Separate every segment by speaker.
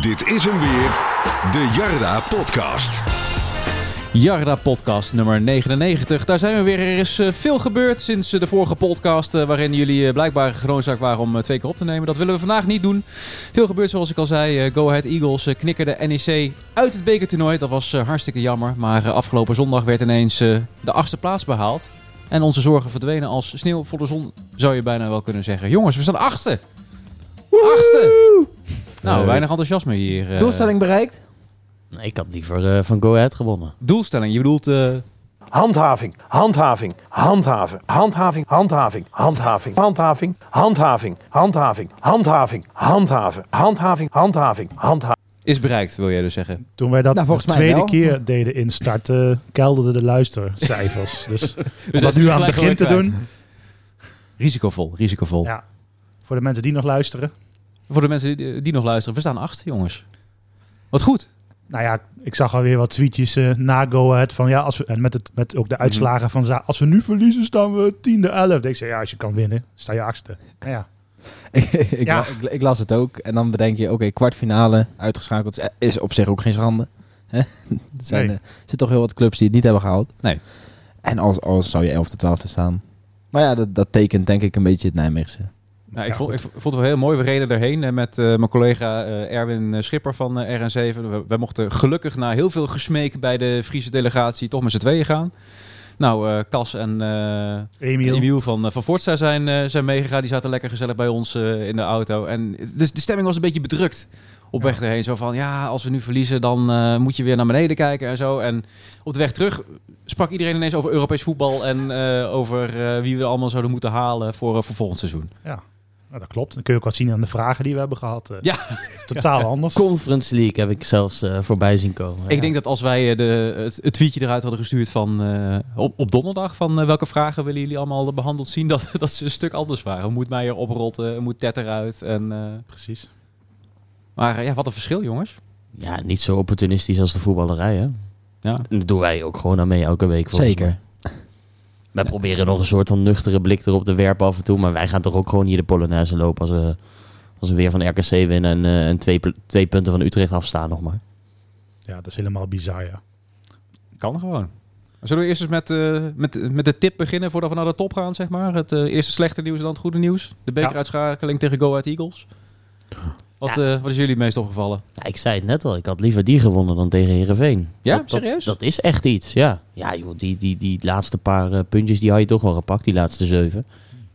Speaker 1: Dit is hem weer, de Jarda Podcast.
Speaker 2: Jarda Podcast nummer 99. Daar zijn we weer. Er is eh, veel gebeurd sinds eh, de vorige podcast. eh, waarin jullie eh, blijkbaar genoodzaakt waren om eh, twee keer op te nemen. Dat willen we vandaag niet doen. Veel gebeurt zoals ik al zei. Eh, Go Ahead Eagles eh, knikkerde NEC uit het bekertoernooi. Dat was eh, hartstikke jammer. Maar eh, afgelopen zondag werd ineens eh, de achtste plaats behaald. En onze zorgen verdwenen als sneeuw voor de zon. Zou je bijna wel kunnen zeggen. Jongens, we staan achtste. Achtste. Nou,
Speaker 3: Eh.
Speaker 2: weinig enthousiasme hier. eh.
Speaker 4: Doelstelling bereikt?
Speaker 3: Nee, ik had liever eh, van Go Ahead gewonnen.
Speaker 2: Doelstelling. Je bedoelt... eh,
Speaker 5: Handhaving, handhaving, handhaven, handhaving, handhaving, handhaving, handhaving, handhaving, handhaving, handhaving, handhaven, handhaving, handhaving, handhaving.
Speaker 2: is bereikt, wil jij dus zeggen.
Speaker 6: Toen wij dat
Speaker 4: Nou, volgens
Speaker 6: de
Speaker 4: mij
Speaker 6: tweede
Speaker 4: wel.
Speaker 6: keer deden instarten, kelderden de luistercijfers. dus om
Speaker 2: hij is
Speaker 6: dat
Speaker 2: nu
Speaker 6: nu aan het
Speaker 2: gelijk
Speaker 6: begin te
Speaker 2: alweer
Speaker 6: doen.
Speaker 2: Risicovol, risicovol.
Speaker 6: Ja. Voor de mensen die nog luisteren.
Speaker 2: Voor de mensen die, die nog luisteren, we staan acht, jongens. Wat goed.
Speaker 6: Nou ja, ik zag alweer wat tweetjes eh, na Go Ahead van ja, als we, en met, het, met ook de uitslagen van za- als we nu verliezen staan we tiende, elfde. Ik zei ja, als je kan winnen, sta je achtste. Nou ja,
Speaker 4: ik,
Speaker 6: Ja.
Speaker 4: la- ik, ik las het ook. En dan bedenk je, oké, kwartfinale uitgeschakeld is- eh, is op zich ook geen schande. Hè? er zijn,
Speaker 6: Nee.
Speaker 4: eh, er zitten toch heel wat clubs die het niet hebben gehaald.
Speaker 2: Nee.
Speaker 4: En als, als zou je 11 twaalfde staan. Maar ja, dat, dat tekent denk ik een beetje het Nijmeegse.
Speaker 2: Nou, ik,
Speaker 6: Ja,
Speaker 2: vond, ik
Speaker 6: goed.
Speaker 2: vond het wel heel mooi. We reden erheen eh, met eh, mijn collega eh, Erwin eh, Schipper van eh, RN7. We, wij mochten gelukkig na heel veel gesmeek bij de Friese delegatie toch met z'n tweeën gaan. Nou, eh, Cas en eh,
Speaker 6: Emiel.
Speaker 2: Emiel van, eh, van Forza zijn, eh, zijn meegegaan. Die zaten lekker gezellig bij ons eh, in de auto. En het- dus de stemming was een beetje bedrukt op weg erheen. Zo van, ja, als we nu verliezen, dan eh, moet je weer naar beneden kijken en zo. En op de weg terug sprak iedereen ineens over Europees voetbal... en eh, over eh, wie we allemaal zouden moeten halen voor, eh, voor volgend seizoen.
Speaker 6: Nou, dat klopt. Dan kun je ook wat zien aan de vragen die we hebben gehad. eh.
Speaker 2: Ja.
Speaker 6: Het is Totaal anders.
Speaker 3: Conference League heb ik zelfs eh, voorbij zien komen.
Speaker 2: Ik denk dat als wij eh, de, het, het tweetje eruit hadden gestuurd van, eh, op, op donderdag... van eh, welke vragen willen jullie allemaal behandeld zien... dat, dat ze een stuk anders waren. Moet Meijer oprotten, moet Tet eruit en... eh,
Speaker 6: Precies.
Speaker 2: maar eh, ja, wat een verschil, jongens.
Speaker 3: Ja, niet zo opportunistisch als de voetballerij, hè?
Speaker 2: Ja.
Speaker 3: En dat doen wij ook gewoon aan mee elke week, volgens
Speaker 4: Zeker.
Speaker 3: mij. Wij proberen nog een soort van nuchtere blik erop te werpen af en toe. Maar wij gaan toch ook gewoon hier de Polonaise lopen als we, als we weer van RKC winnen en, eh, en twee, pu- twee punten van Utrecht afstaan nog maar.
Speaker 6: Ja, dat is helemaal bizar, ja.
Speaker 2: Kan gewoon. Zullen we eerst eens met, eh, met, met de tip beginnen voordat we naar de top gaan, zeg maar? Het eh, eerste slechte nieuws en dan het goede nieuws. De bekeruitschakeling tegen Go Ahead Eagles. Wat, eh, wat is jullie het meest opgevallen?
Speaker 3: Ja, ik zei het net al, ik had liever die gewonnen dan tegen Herenveen.
Speaker 2: Ja,
Speaker 3: dat, dat-
Speaker 2: serieus?
Speaker 3: Dat, is echt iets, ja. Ja, joh, die, die, die laatste paar eh, puntjes die had je toch wel gepakt, die laatste zeven.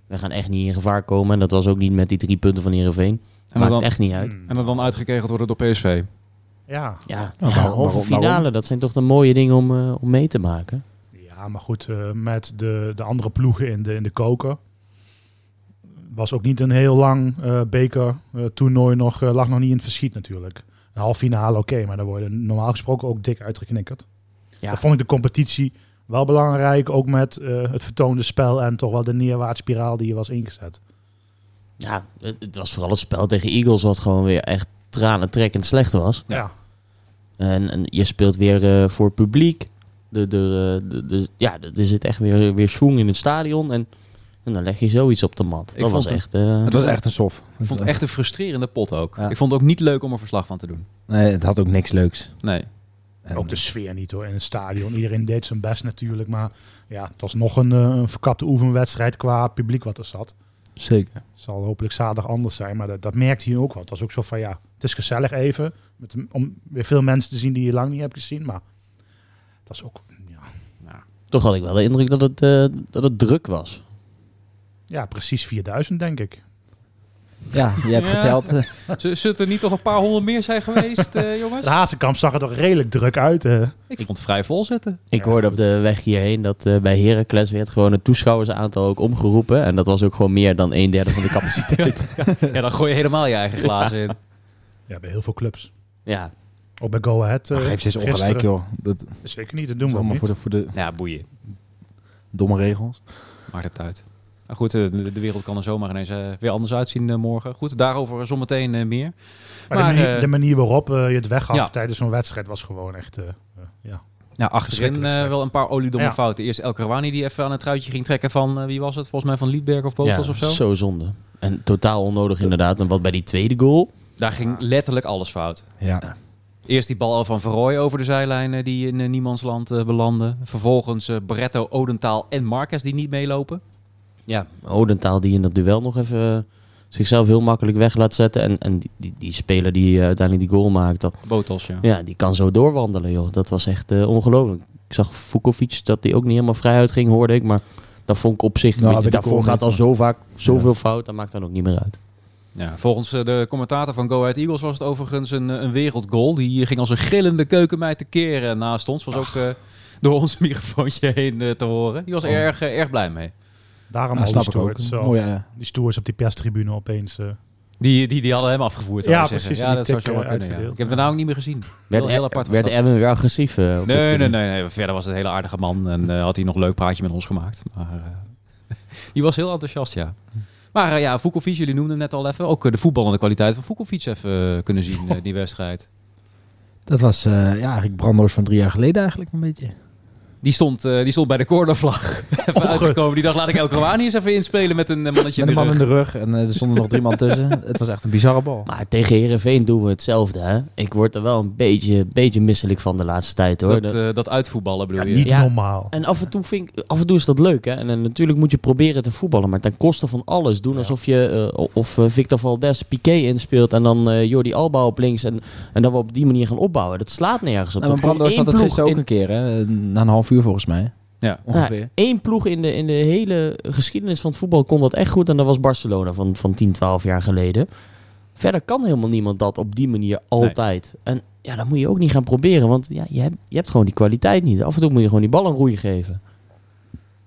Speaker 3: We gaan echt niet in gevaar komen en dat was ook niet met die drie punten van Herenveen.
Speaker 2: En
Speaker 3: Maakt
Speaker 2: dan,
Speaker 3: echt niet uit.
Speaker 6: Hmm.
Speaker 2: en dan uitgekegeld worden door PSV.
Speaker 6: Ja.
Speaker 3: Ja,
Speaker 4: Nou,
Speaker 3: ja,
Speaker 4: waarom-
Speaker 3: halve
Speaker 4: waarom-
Speaker 3: finale,
Speaker 4: waarom?
Speaker 3: dat zijn toch de mooie dingen om, eh, om mee te maken.
Speaker 6: Ja, maar goed, eh, met de, de andere ploegen in de, in de koker. Was ook niet een heel lang eh beker eh, toernooi nog, eh, lag nog niet in het verschiet natuurlijk. Een halve finale oké, maar daar worden normaal gesproken ook dik uitgeknikkerd.
Speaker 3: Ja.
Speaker 6: Dan vond ik de competitie wel belangrijk, ook met eh, het vertoonde spel en toch wel de neerwaartspiraal die je was ingezet.
Speaker 3: Ja, het, het was vooral het spel tegen Eagles wat gewoon weer echt tranentrekkend slecht was.
Speaker 2: Ja.
Speaker 3: En, en je speelt weer eh, voor publiek. De, de, eh, de, de- ja, de- er zit echt weer, weer schwung in het stadion. En, en dan leg je zoiets op de mat.
Speaker 2: Ik
Speaker 3: dat
Speaker 2: vond
Speaker 3: was
Speaker 2: het-
Speaker 3: echt... eh,
Speaker 4: Het was echt een sof.
Speaker 2: Ik vond het echt een frustrerende pot ook.
Speaker 4: Ja.
Speaker 2: Ik vond het ook niet leuk om er verslag van te doen.
Speaker 4: Nee, het had ook niks leuks.
Speaker 2: Nee.
Speaker 4: En-
Speaker 6: Ook dus- de sfeer niet hoor, in het stadion. Iedereen deed zijn best natuurlijk, maar ja, het was nog een, eh, een verkapte oefenwedstrijd qua publiek wat er zat.
Speaker 4: Zeker.
Speaker 6: zal hopelijk zaterdag anders zijn. Maar dat, dat merkte je ook wel. Het was ook zo van ja, het is gezellig even. Met, om weer veel mensen te zien die je lang niet hebt gezien. Maar dat is ook. Ja,
Speaker 3: Toch had ik wel de indruk dat het, eh, dat het druk was.
Speaker 6: ja precies 4000 denk ik.
Speaker 2: Dus-
Speaker 4: Ja, je hebt
Speaker 2: Ja.
Speaker 4: geteld.
Speaker 2: Z- Zullen er niet nog een paar honderd meer zijn geweest, eh, jongens?
Speaker 6: De Hazenkamp zag er toch redelijk druk uit. eh.
Speaker 2: Ik vond het vrij vol zitten.
Speaker 3: Ik
Speaker 6: Ja,
Speaker 3: hoorde op de weg hierheen dat eh, bij Heracles werd gewoon het toeschouwersaantal ook omgeroepen. En dat was ook gewoon meer dan een derde van de capaciteit.
Speaker 2: Ja, dan gooi je helemaal je eigen glazen in.
Speaker 6: Ja, bij heel veel clubs.
Speaker 3: ja,
Speaker 6: Ook bij Go Ahead. eh,
Speaker 4: Ach, geef ze eens
Speaker 6: gisteren.
Speaker 4: ongelijk, joh. Dat
Speaker 6: Zeker niet, dat doen
Speaker 4: is
Speaker 6: we ook
Speaker 4: allemaal
Speaker 6: niet.
Speaker 4: voor de, voor de
Speaker 2: Ja, boeien.
Speaker 4: domme regels.
Speaker 2: Maakt het uit. Nou goed, eh, de de wereld kan er zomaar ineens eh, weer anders uitzien eh, morgen. Goed, daarover zometeen eh, meer.
Speaker 6: Maar,
Speaker 2: Maar,
Speaker 6: de, manier,
Speaker 2: eh,
Speaker 6: de manier waarop eh, je het weggaf
Speaker 2: Ja.
Speaker 6: tijdens zo'n wedstrijd was gewoon echt... eh, eh, ja.
Speaker 2: Nou, achterin
Speaker 6: Verschrikkelijk
Speaker 2: eh,
Speaker 6: slecht.
Speaker 2: wel een paar oliedomme
Speaker 6: Ja.
Speaker 2: fouten. Eerst El Karouani die even aan het truitje ging trekken van, eh, wie was het? Volgens mij van Liedberg of Botels
Speaker 3: ja,
Speaker 2: of zo.
Speaker 3: zo zonde. En totaal onnodig inderdaad. En wat bij die tweede goal...
Speaker 2: Daar ging letterlijk alles fout.
Speaker 4: Ja.
Speaker 2: Eerst die bal van Verrooy over de zijlijn eh, die in eh, niemandsland eh, belandde. Vervolgens eh Barretto, Odentaal en Marquez die niet meelopen.
Speaker 3: Ja, Odentaal die in dat duel nog even eh, zichzelf heel makkelijk weg laat zetten. En, en die, die, die speler die eh, uiteindelijk die goal maakt, dat,
Speaker 2: Botos, ja.
Speaker 3: ja, die kan zo doorwandelen, joh. Dat was echt eh, ongelooflijk. Ik zag Vukovic dat die ook niet helemaal vrij uitging, hoorde ik. Maar dat vond ik op zich...
Speaker 4: Nou,
Speaker 3: weet je,
Speaker 4: bij die
Speaker 3: daarvoor
Speaker 4: goal niet,
Speaker 3: gaat al zo vaak zoveel fout, dat maakt dan ook niet meer uit.
Speaker 2: Ja, volgens eh, de commentator van Go Ahead Eagles was het overigens een, eh, een wereldgoal. Die ging als een gillende keukenmeid te keren naast ons. Was ook eh, door ons microfoontje heen eh, te horen.
Speaker 6: Oh.
Speaker 2: Die was er erg, eh, erg blij mee.
Speaker 6: Daarom
Speaker 4: Dat
Speaker 6: al die
Speaker 4: snap ik ook.
Speaker 6: stewards. zo.
Speaker 4: Mooi, ja.
Speaker 6: Die stewards op die perstribune opeens. eh,
Speaker 2: Die, die, die hadden hem afgevoerd. zou
Speaker 6: Ja,
Speaker 2: ik zeggen.
Speaker 6: precies,
Speaker 2: Ja,
Speaker 6: en
Speaker 2: dat
Speaker 6: die
Speaker 2: zou
Speaker 6: tik,
Speaker 2: zomaar
Speaker 6: eh,
Speaker 2: kunnen. ja. Ik
Speaker 6: uitgedeeld.
Speaker 2: heb het nou ook niet meer gezien.
Speaker 3: Werd,
Speaker 2: Heel, heel apart was
Speaker 3: werd
Speaker 2: dat.
Speaker 3: Erwin weer agressief? eh, op dit
Speaker 2: Nee, nee,
Speaker 3: gebied?
Speaker 2: nee, nee. Verder was het een hele aardige man. En eh, had hij nog een leuk praatje met ons gemaakt. Maar eh, die was heel enthousiast, ja. Maar eh, ja, Vukovic, jullie noemden hem net al even. Ook eh, de voetballende kwaliteit van Vukovic even eh, kunnen zien, eh, die wedstrijd.
Speaker 4: Dat was eh, ja, eigenlijk brandloos van drie jaar geleden eigenlijk een beetje.
Speaker 2: Die stond, eh, die stond bij de cornervlag. even
Speaker 6: ge-
Speaker 2: uitgekomen. Die dacht, laat ik El Kouani eens even inspelen met een eh, mannetje
Speaker 4: Met een
Speaker 2: in de rug.
Speaker 4: man in de rug en eh, er stonden nog drie man tussen. Het was echt een bizarre bal.
Speaker 3: Maar tegen Herenveen doen we hetzelfde, hè? Ik word er wel een beetje, beetje misselijk van de laatste tijd,
Speaker 2: Dat,
Speaker 3: hoor. Dat-
Speaker 2: eh, dat uitvoetballen bedoel je?
Speaker 6: niet
Speaker 3: Ja.
Speaker 6: normaal.
Speaker 3: En af en, toe vind ik, af en toe is dat leuk, hè? En, eh, natuurlijk moet je proberen te voetballen, maar ten koste van alles. Doen alsof je eh, o- of eh, Victor Valdes Piqué inspeelt en dan eh, Jordi Alba op links. En, en dat we op die manier gaan opbouwen. Dat slaat nergens op.
Speaker 4: Nou, maar
Speaker 3: Dat
Speaker 4: Brando's
Speaker 3: gewoon
Speaker 4: had het
Speaker 3: één
Speaker 4: gisteren ook
Speaker 3: ploeg
Speaker 4: een keer, hè? na een half uur volgens mij.
Speaker 2: Ja.
Speaker 4: Ongeveer.
Speaker 3: in- één ploeg in de, in de hele geschiedenis van het voetbal kon dat echt goed. En dat was Barcelona van, van 10, 12 jaar geleden. Verder kan helemaal niemand dat op die manier altijd. En ja, dat moet je ook niet gaan proberen. Want ja, je, hebt, je hebt gewoon die kwaliteit niet. Af en toe moet je gewoon die bal een roei geven.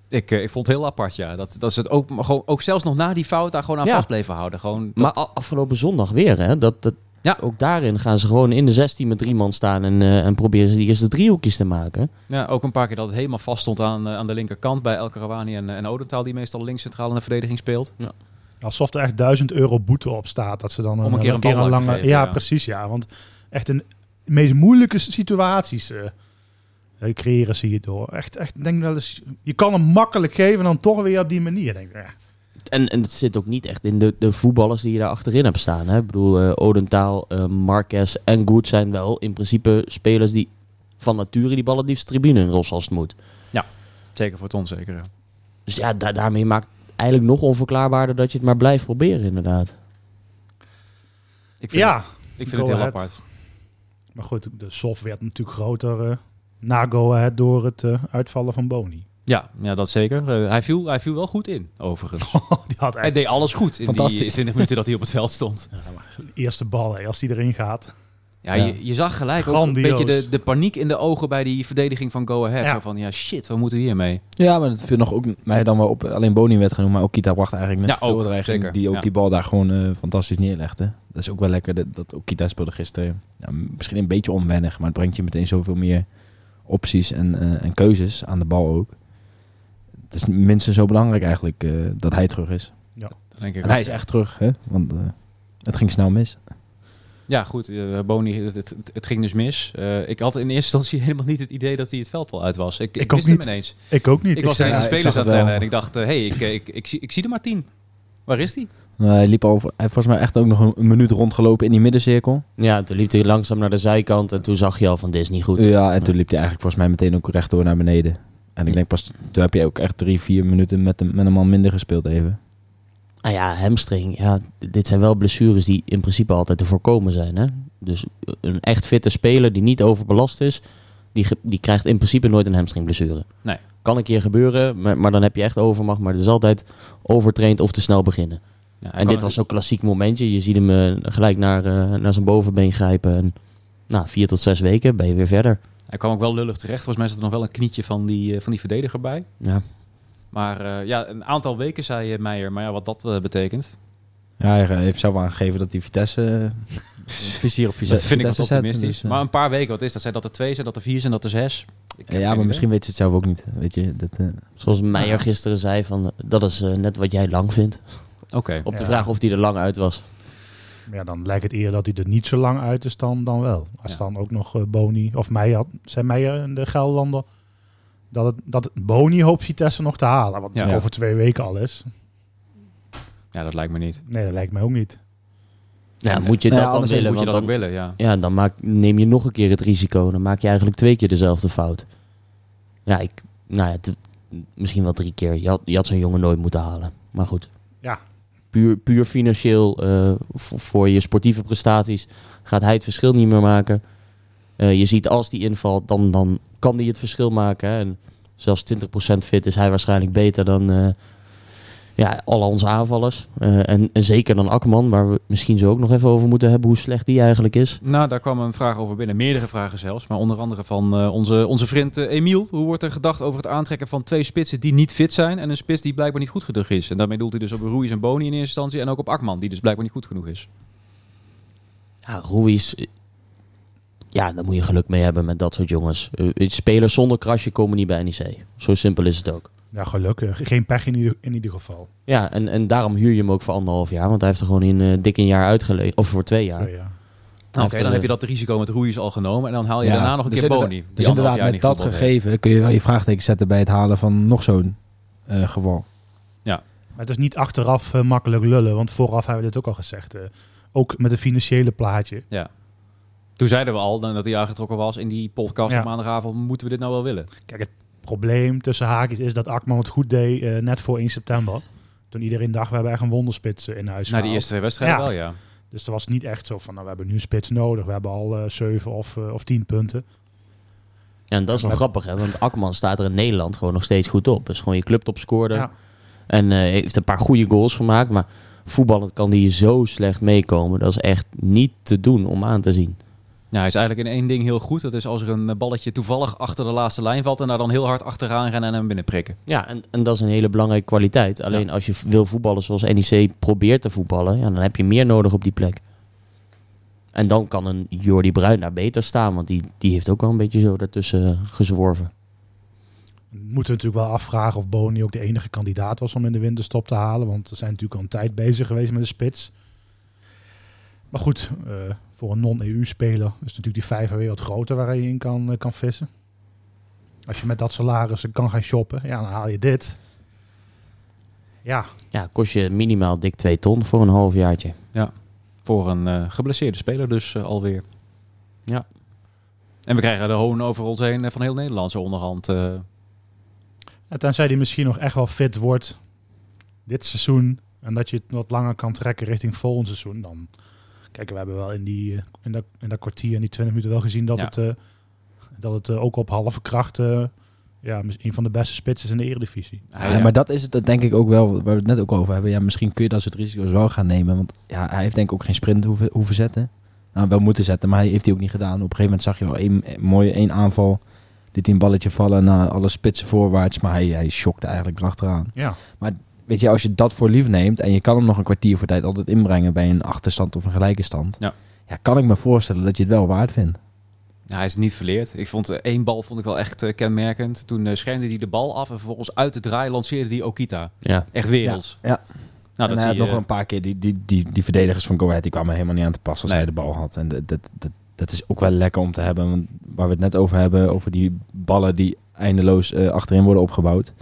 Speaker 2: Ik, eh, ik vond het heel apart, ja. Dat, dat ze het ook, maar gewoon, ook zelfs nog na die fout daar gewoon aan
Speaker 3: Ja.
Speaker 2: vast bleven houden. Gewoon,
Speaker 3: Maar a- afgelopen zondag weer, hè? Dat, dat,
Speaker 2: Ja.
Speaker 3: Ook daarin gaan ze gewoon in de 16 met drie man staan en, eh, en proberen ze die eerste driehoekjes te maken.
Speaker 2: Ja, ook een paar keer dat het helemaal vast stond aan, eh, aan de linkerkant bij El Karawani en, eh, en Odentaal, die meestal links centraal in de verdediging speelt.
Speaker 6: Alsof er echt 1000 euro boete op staat. Dat ze dan
Speaker 2: Om een keer een bal uit te
Speaker 6: lange.
Speaker 2: geven,
Speaker 6: ja,
Speaker 2: ja.
Speaker 6: precies. Ja, want echt in de meest moeilijke s- situaties eh, eh, creëren ze hierdoor. Echt, echt, denk wel eens. Je kan hem makkelijk geven, en dan toch weer op die manier. Denk, ik, eh.
Speaker 3: En, en het zit ook niet echt in de, de voetballers die je daar achterin hebt staan. Hè? Ik bedoel, eh, Odentaal, eh, Marquez en Goed zijn wel in principe spelers die van nature die ballen het liefst tribune in rossen als het moet.
Speaker 2: Zeker voor Ton, zeker. ja.
Speaker 3: Dus ja, da- daarmee maakt eigenlijk nog onverklaarbaarder dat je het maar blijft proberen inderdaad.
Speaker 2: Ik vind,
Speaker 6: ja,
Speaker 2: het, ik vind
Speaker 6: go
Speaker 2: het heel
Speaker 6: ahead.
Speaker 2: apart.
Speaker 6: maar goed, de soft werd natuurlijk groter eh, na Go Ahead door het eh, uitvallen van Boni.
Speaker 2: Ja, ja, dat zeker. Eh, hij, viel, hij viel wel goed in, overigens.
Speaker 6: Die had
Speaker 2: hij
Speaker 6: echt
Speaker 2: deed alles goed in die
Speaker 4: Fantastisch.
Speaker 2: 20 minuten dat hij op het veld stond.
Speaker 6: de eerste bal hè, als die erin gaat.
Speaker 2: Ja,
Speaker 4: Ja.
Speaker 2: Je, je zag gelijk ook een
Speaker 6: Grandioos.
Speaker 2: beetje de, de paniek in de ogen bij die verdediging van Go Ahead.
Speaker 6: Ja.
Speaker 2: Zo van, ja shit, wat moeten we hiermee?
Speaker 4: Ja, maar dat viel nog ook mij dan wel op. Alleen Boni werd genoemd, maar ook Kita bracht eigenlijk net
Speaker 2: Ja, ook,
Speaker 4: veel dreiging,
Speaker 2: zeker,
Speaker 4: Die ook
Speaker 2: ja.
Speaker 4: die bal daar gewoon eh, fantastisch neerlegde. Dat is ook wel lekker dat, dat ook Kita speelde gisteren. Ja, misschien een beetje onwennig, maar het brengt je meteen zoveel meer opties en, eh, en keuzes aan de bal ook. Het is minstens zo belangrijk eigenlijk eh, dat hij terug is.
Speaker 2: Dan denk ik,
Speaker 4: En hij is echt terug, hè? want eh, het ging snel mis.
Speaker 2: Ja, goed, eh, Boni, het, het, het- het ging dus mis. Eh, ik had in eerste instantie helemaal niet het idee dat hij het veld wel uit was. Ik, ik,
Speaker 6: Ik ook
Speaker 2: wist hem
Speaker 6: niet.
Speaker 2: ineens.
Speaker 6: Ik ook niet.
Speaker 2: Ik was
Speaker 6: zei,
Speaker 2: ineens de
Speaker 4: ja, ik
Speaker 2: spelers
Speaker 4: zag
Speaker 2: aan
Speaker 4: het
Speaker 2: het tellen
Speaker 4: wel.
Speaker 2: en ik dacht, hé, hey, ik, eh, ik, ik, zie- ik zie er maar tien. Waar is die?
Speaker 4: Eh, hij liep al, hij heeft volgens mij echt ook nog een, een minuut rondgelopen in die middencirkel.
Speaker 3: Ja, en toen liep hij langzaam naar de zijkant en toen zag je al van dit is niet goed.
Speaker 4: Ja, en toen liep hij eigenlijk volgens mij meteen ook rechtdoor naar beneden. En ik denk pas, toen heb je ook echt drie, vier minuten met een, met een man minder gespeeld even.
Speaker 3: Nou ja, hamstring. Ja, d- dit zijn wel blessures die in principe altijd te voorkomen zijn. Hè? Dus eh, een echt fitte speler die niet overbelast is, die, ge- die krijgt in principe nooit een hamstringblessure.
Speaker 2: Nee.
Speaker 3: Kan een keer gebeuren, maar, maar dan heb je echt overmacht. Maar het is altijd overtraind of te snel beginnen.
Speaker 2: Ja,
Speaker 3: En dit was zo'n klassiek momentje. Je ziet hem eh, gelijk naar, eh, naar zijn bovenbeen grijpen. En, nou, vier tot zes weken ben je weer verder.
Speaker 2: Hij kwam ook wel lullig terecht. Volgens mij zat er nog wel een knietje van die, eh, van die verdediger bij.
Speaker 3: Ja.
Speaker 2: Maar eh, ja, een aantal weken zei eh, Meijer. Maar ja, wat dat eh, betekent.
Speaker 4: Ja, hij eh, heeft zelf aangegeven dat hij Vitesse... eh, vizier op Vitesse
Speaker 2: dat vind ik
Speaker 4: Vitesse
Speaker 2: wat
Speaker 4: zet,
Speaker 2: optimistisch.
Speaker 4: dus, eh,
Speaker 2: maar een paar weken, wat is dat? Zijn dat er twee, zijn dat er vier, zijn dat er zes? Ik heb geen
Speaker 4: ja,
Speaker 2: idee.
Speaker 4: maar misschien weet ze het zelf ook niet. Weet je, dat, eh,
Speaker 3: Zoals Meijer gisteren zei, van, dat is eh, net wat jij lang vindt.
Speaker 2: Oké.
Speaker 3: Op de
Speaker 6: Ja.
Speaker 3: vraag of hij er lang uit was.
Speaker 6: Ja, dan lijkt het eerder dat hij er niet zo lang uit is dan, dan wel. Als
Speaker 2: Ja.
Speaker 6: dan ook nog eh, Boni of Meijer, zijn Meijer en de Gelderlander, dat, het, dat Boni hoopt Vitesse nog te halen. Wat
Speaker 2: Ja.
Speaker 6: natuurlijk over twee weken al is.
Speaker 2: Ja, dat lijkt me niet.
Speaker 6: Nee, dat lijkt mij ook niet.
Speaker 3: Ja, moet je
Speaker 2: nou Ja,
Speaker 3: dat dan
Speaker 2: anderzijds
Speaker 3: willen?
Speaker 2: moet je dat
Speaker 3: Want dan,
Speaker 2: ook willen, ja.
Speaker 3: ja, dan maak, neem je nog een keer het risico. Dan maak je eigenlijk twee keer dezelfde fout. Ja, ik, nou ja, t- misschien wel drie keer. Je had, je had zo'n jongen nooit moeten halen. Maar goed.
Speaker 6: Ja.
Speaker 3: Puur, puur financieel, eh, voor, voor je sportieve prestaties, gaat hij het verschil niet meer maken. Eh, je ziet als die invalt, dan, dan kan die het verschil maken. Hè. En zelfs 20% fit is hij waarschijnlijk beter dan eh, ja, al onze aanvallers. Eh, en, en zeker dan Akman, waar we misschien zo ook nog even over moeten hebben hoe slecht die eigenlijk is.
Speaker 2: Nou, daar kwam een vraag over binnen. Meerdere vragen zelfs. Maar onder andere van eh, onze, onze vriend eh, Emiel. Hoe wordt er gedacht over het aantrekken van twee spitsen die niet fit zijn... en een spits die blijkbaar niet goed genoeg is? En daarmee doelt hij dus op Ruiz en Boni in eerste instantie... en ook op Akman, die dus blijkbaar niet goed genoeg is.
Speaker 3: Ja, Ruiz, eh, ja, daar moet je geluk mee hebben met dat soort jongens. Eh, spelers zonder krasje komen niet bij NEC. Zo simpel is het ook.
Speaker 6: Ja, gelukkig. Geen pech in ieder, in ieder geval.
Speaker 3: Ja, en, en daarom huur je hem ook voor anderhalf jaar. Want hij heeft er gewoon in eh, dik een jaar uitgeleverd. Of voor twee jaar.
Speaker 6: Twee jaar.
Speaker 3: Hij
Speaker 2: Oké,
Speaker 3: heeft
Speaker 2: dan
Speaker 3: er-
Speaker 2: heb je dat risico met Ruiz al genomen... en dan haal je
Speaker 4: Ja,
Speaker 2: daarna nog een
Speaker 4: dus
Speaker 2: keer
Speaker 4: inderdaad-
Speaker 2: Boni. die
Speaker 4: Dus
Speaker 2: anderhalf
Speaker 4: inderdaad,
Speaker 2: jaar
Speaker 4: met
Speaker 2: niet
Speaker 4: dat
Speaker 2: gevoetbald heeft.
Speaker 4: gegeven kun je wel je vraagteken zetten bij het halen van nog zo'n eh, geval.
Speaker 6: Maar het is niet achteraf eh, makkelijk lullen, want vooraf hebben we dit ook al gezegd. eh, ook met het financiële plaatje.
Speaker 2: Toen zeiden we al dat hij aangetrokken was in die podcast
Speaker 6: Ja.
Speaker 2: op maandagavond... moeten we dit nou wel willen?
Speaker 6: Kijk, het probleem tussen haakjes is dat Akman het goed deed eh, net voor 1 september. Toen iedereen dacht, we hebben echt een wonderspits eh, in huis
Speaker 2: Na die
Speaker 6: gehaald.
Speaker 2: eerste twee wedstrijden
Speaker 6: Ja.
Speaker 2: wel, ja.
Speaker 6: Dus er was niet echt zo van, nou, we hebben nu een spits nodig. We hebben al eh 7 of, eh, of 10 punten.
Speaker 3: Ja, en dat is wel
Speaker 6: Met-
Speaker 3: grappig, hè? Want Akman staat er in Nederland gewoon nog steeds goed op. Is gewoon je clubtopscorer.
Speaker 6: Ja.
Speaker 3: En eh, heeft een paar goede goals gemaakt. Maar voetballend kan die zo slecht meekomen. Dat is echt niet te doen om aan te zien.
Speaker 2: Ja, hij is eigenlijk in één ding heel goed. Dat is als er een eh, balletje toevallig achter de laatste lijn valt... en daar dan heel hard achteraan rennen en hem binnenprikken.
Speaker 3: Ja, en, en dat is een hele belangrijke kwaliteit. Alleen als je v- wil voetballen zoals NEC probeert te voetballen, ja, dan heb je meer nodig op die plek. En dan kan een Jordi Bruin daar beter staan, want die, die heeft ook wel een beetje zo daartussen eh, gezworven.
Speaker 6: Moeten we natuurlijk wel afvragen of Boni ook de enige kandidaat was om in de winterstop te halen. Want we zijn natuurlijk al een tijd bezig geweest met de spits. Maar goed, eh, voor een non-EU-speler is natuurlijk die vijver weer wat groter waar je in kan, eh, kan vissen. Als je met dat salaris kan gaan shoppen, ja, dan haal je dit. Ja,
Speaker 3: Ja, kost je minimaal dik 2 ton voor een halfjaartje.
Speaker 2: Voor een eh, geblesseerde speler dus eh, alweer.
Speaker 3: Ja.
Speaker 2: En we krijgen de hoon over ons heen eh, van heel Nederland zo onderhand. eh.
Speaker 6: en tenzij die misschien nog echt wel fit wordt dit seizoen. En dat je het wat langer kan trekken richting volgend seizoen. Dan, kijk, we hebben wel in, die, eh, in, dat, in dat kwartier, in die 20 minuten wel gezien dat
Speaker 2: Ja.
Speaker 6: het, eh, dat het eh, ook op halve kracht eh, ja, mis- een van de beste spitsen is in de eredivisie.
Speaker 2: hij,
Speaker 4: Ja,
Speaker 2: eh,
Speaker 4: Maar dat is het eh, denk ik ook wel, waar we het net ook over hebben. Ja, misschien kun je dat soort risico's wel gaan nemen. Want ja, hij heeft denk ik ook geen sprint hoeven, hoeven zetten. Nou, wel moeten zetten, maar hij heeft die ook niet gedaan. Op een gegeven moment zag je wel één eh, mooie één aanval. Dit een balletje vallen naar alle spitsen voorwaarts. Maar hij, hij shockte eigenlijk erachteraan.
Speaker 6: Ja,
Speaker 4: Weet je, als je dat voor lief neemt en je kan hem nog een kwartier voor tijd altijd inbrengen bij een achterstand of een gelijke stand.
Speaker 2: Ja.
Speaker 4: Ja, kan ik me voorstellen dat je het wel waard vindt.
Speaker 2: ja, eh, hij is niet verleerd. Ik vond eh, één bal vond ik wel echt eh, kenmerkend. Toen eh, schermde hij de bal af en vervolgens uit de draai lanceerde hij Okita.
Speaker 3: Ja,
Speaker 2: Echt werelds.
Speaker 4: Ja, ja.
Speaker 2: Nou,
Speaker 4: en
Speaker 2: dat
Speaker 4: hij
Speaker 2: zie
Speaker 4: had
Speaker 2: je.
Speaker 4: nog een paar keer die, die, die, die verdedigers van Go Ahead, die kwamen helemaal niet aan te pas als
Speaker 2: Nee.
Speaker 4: hij de bal had. En dat, dat, dat, dat is ook wel lekker om te hebben. Want waar we het net over hebben, over die ballen die eindeloos eh, achterin worden opgebouwd.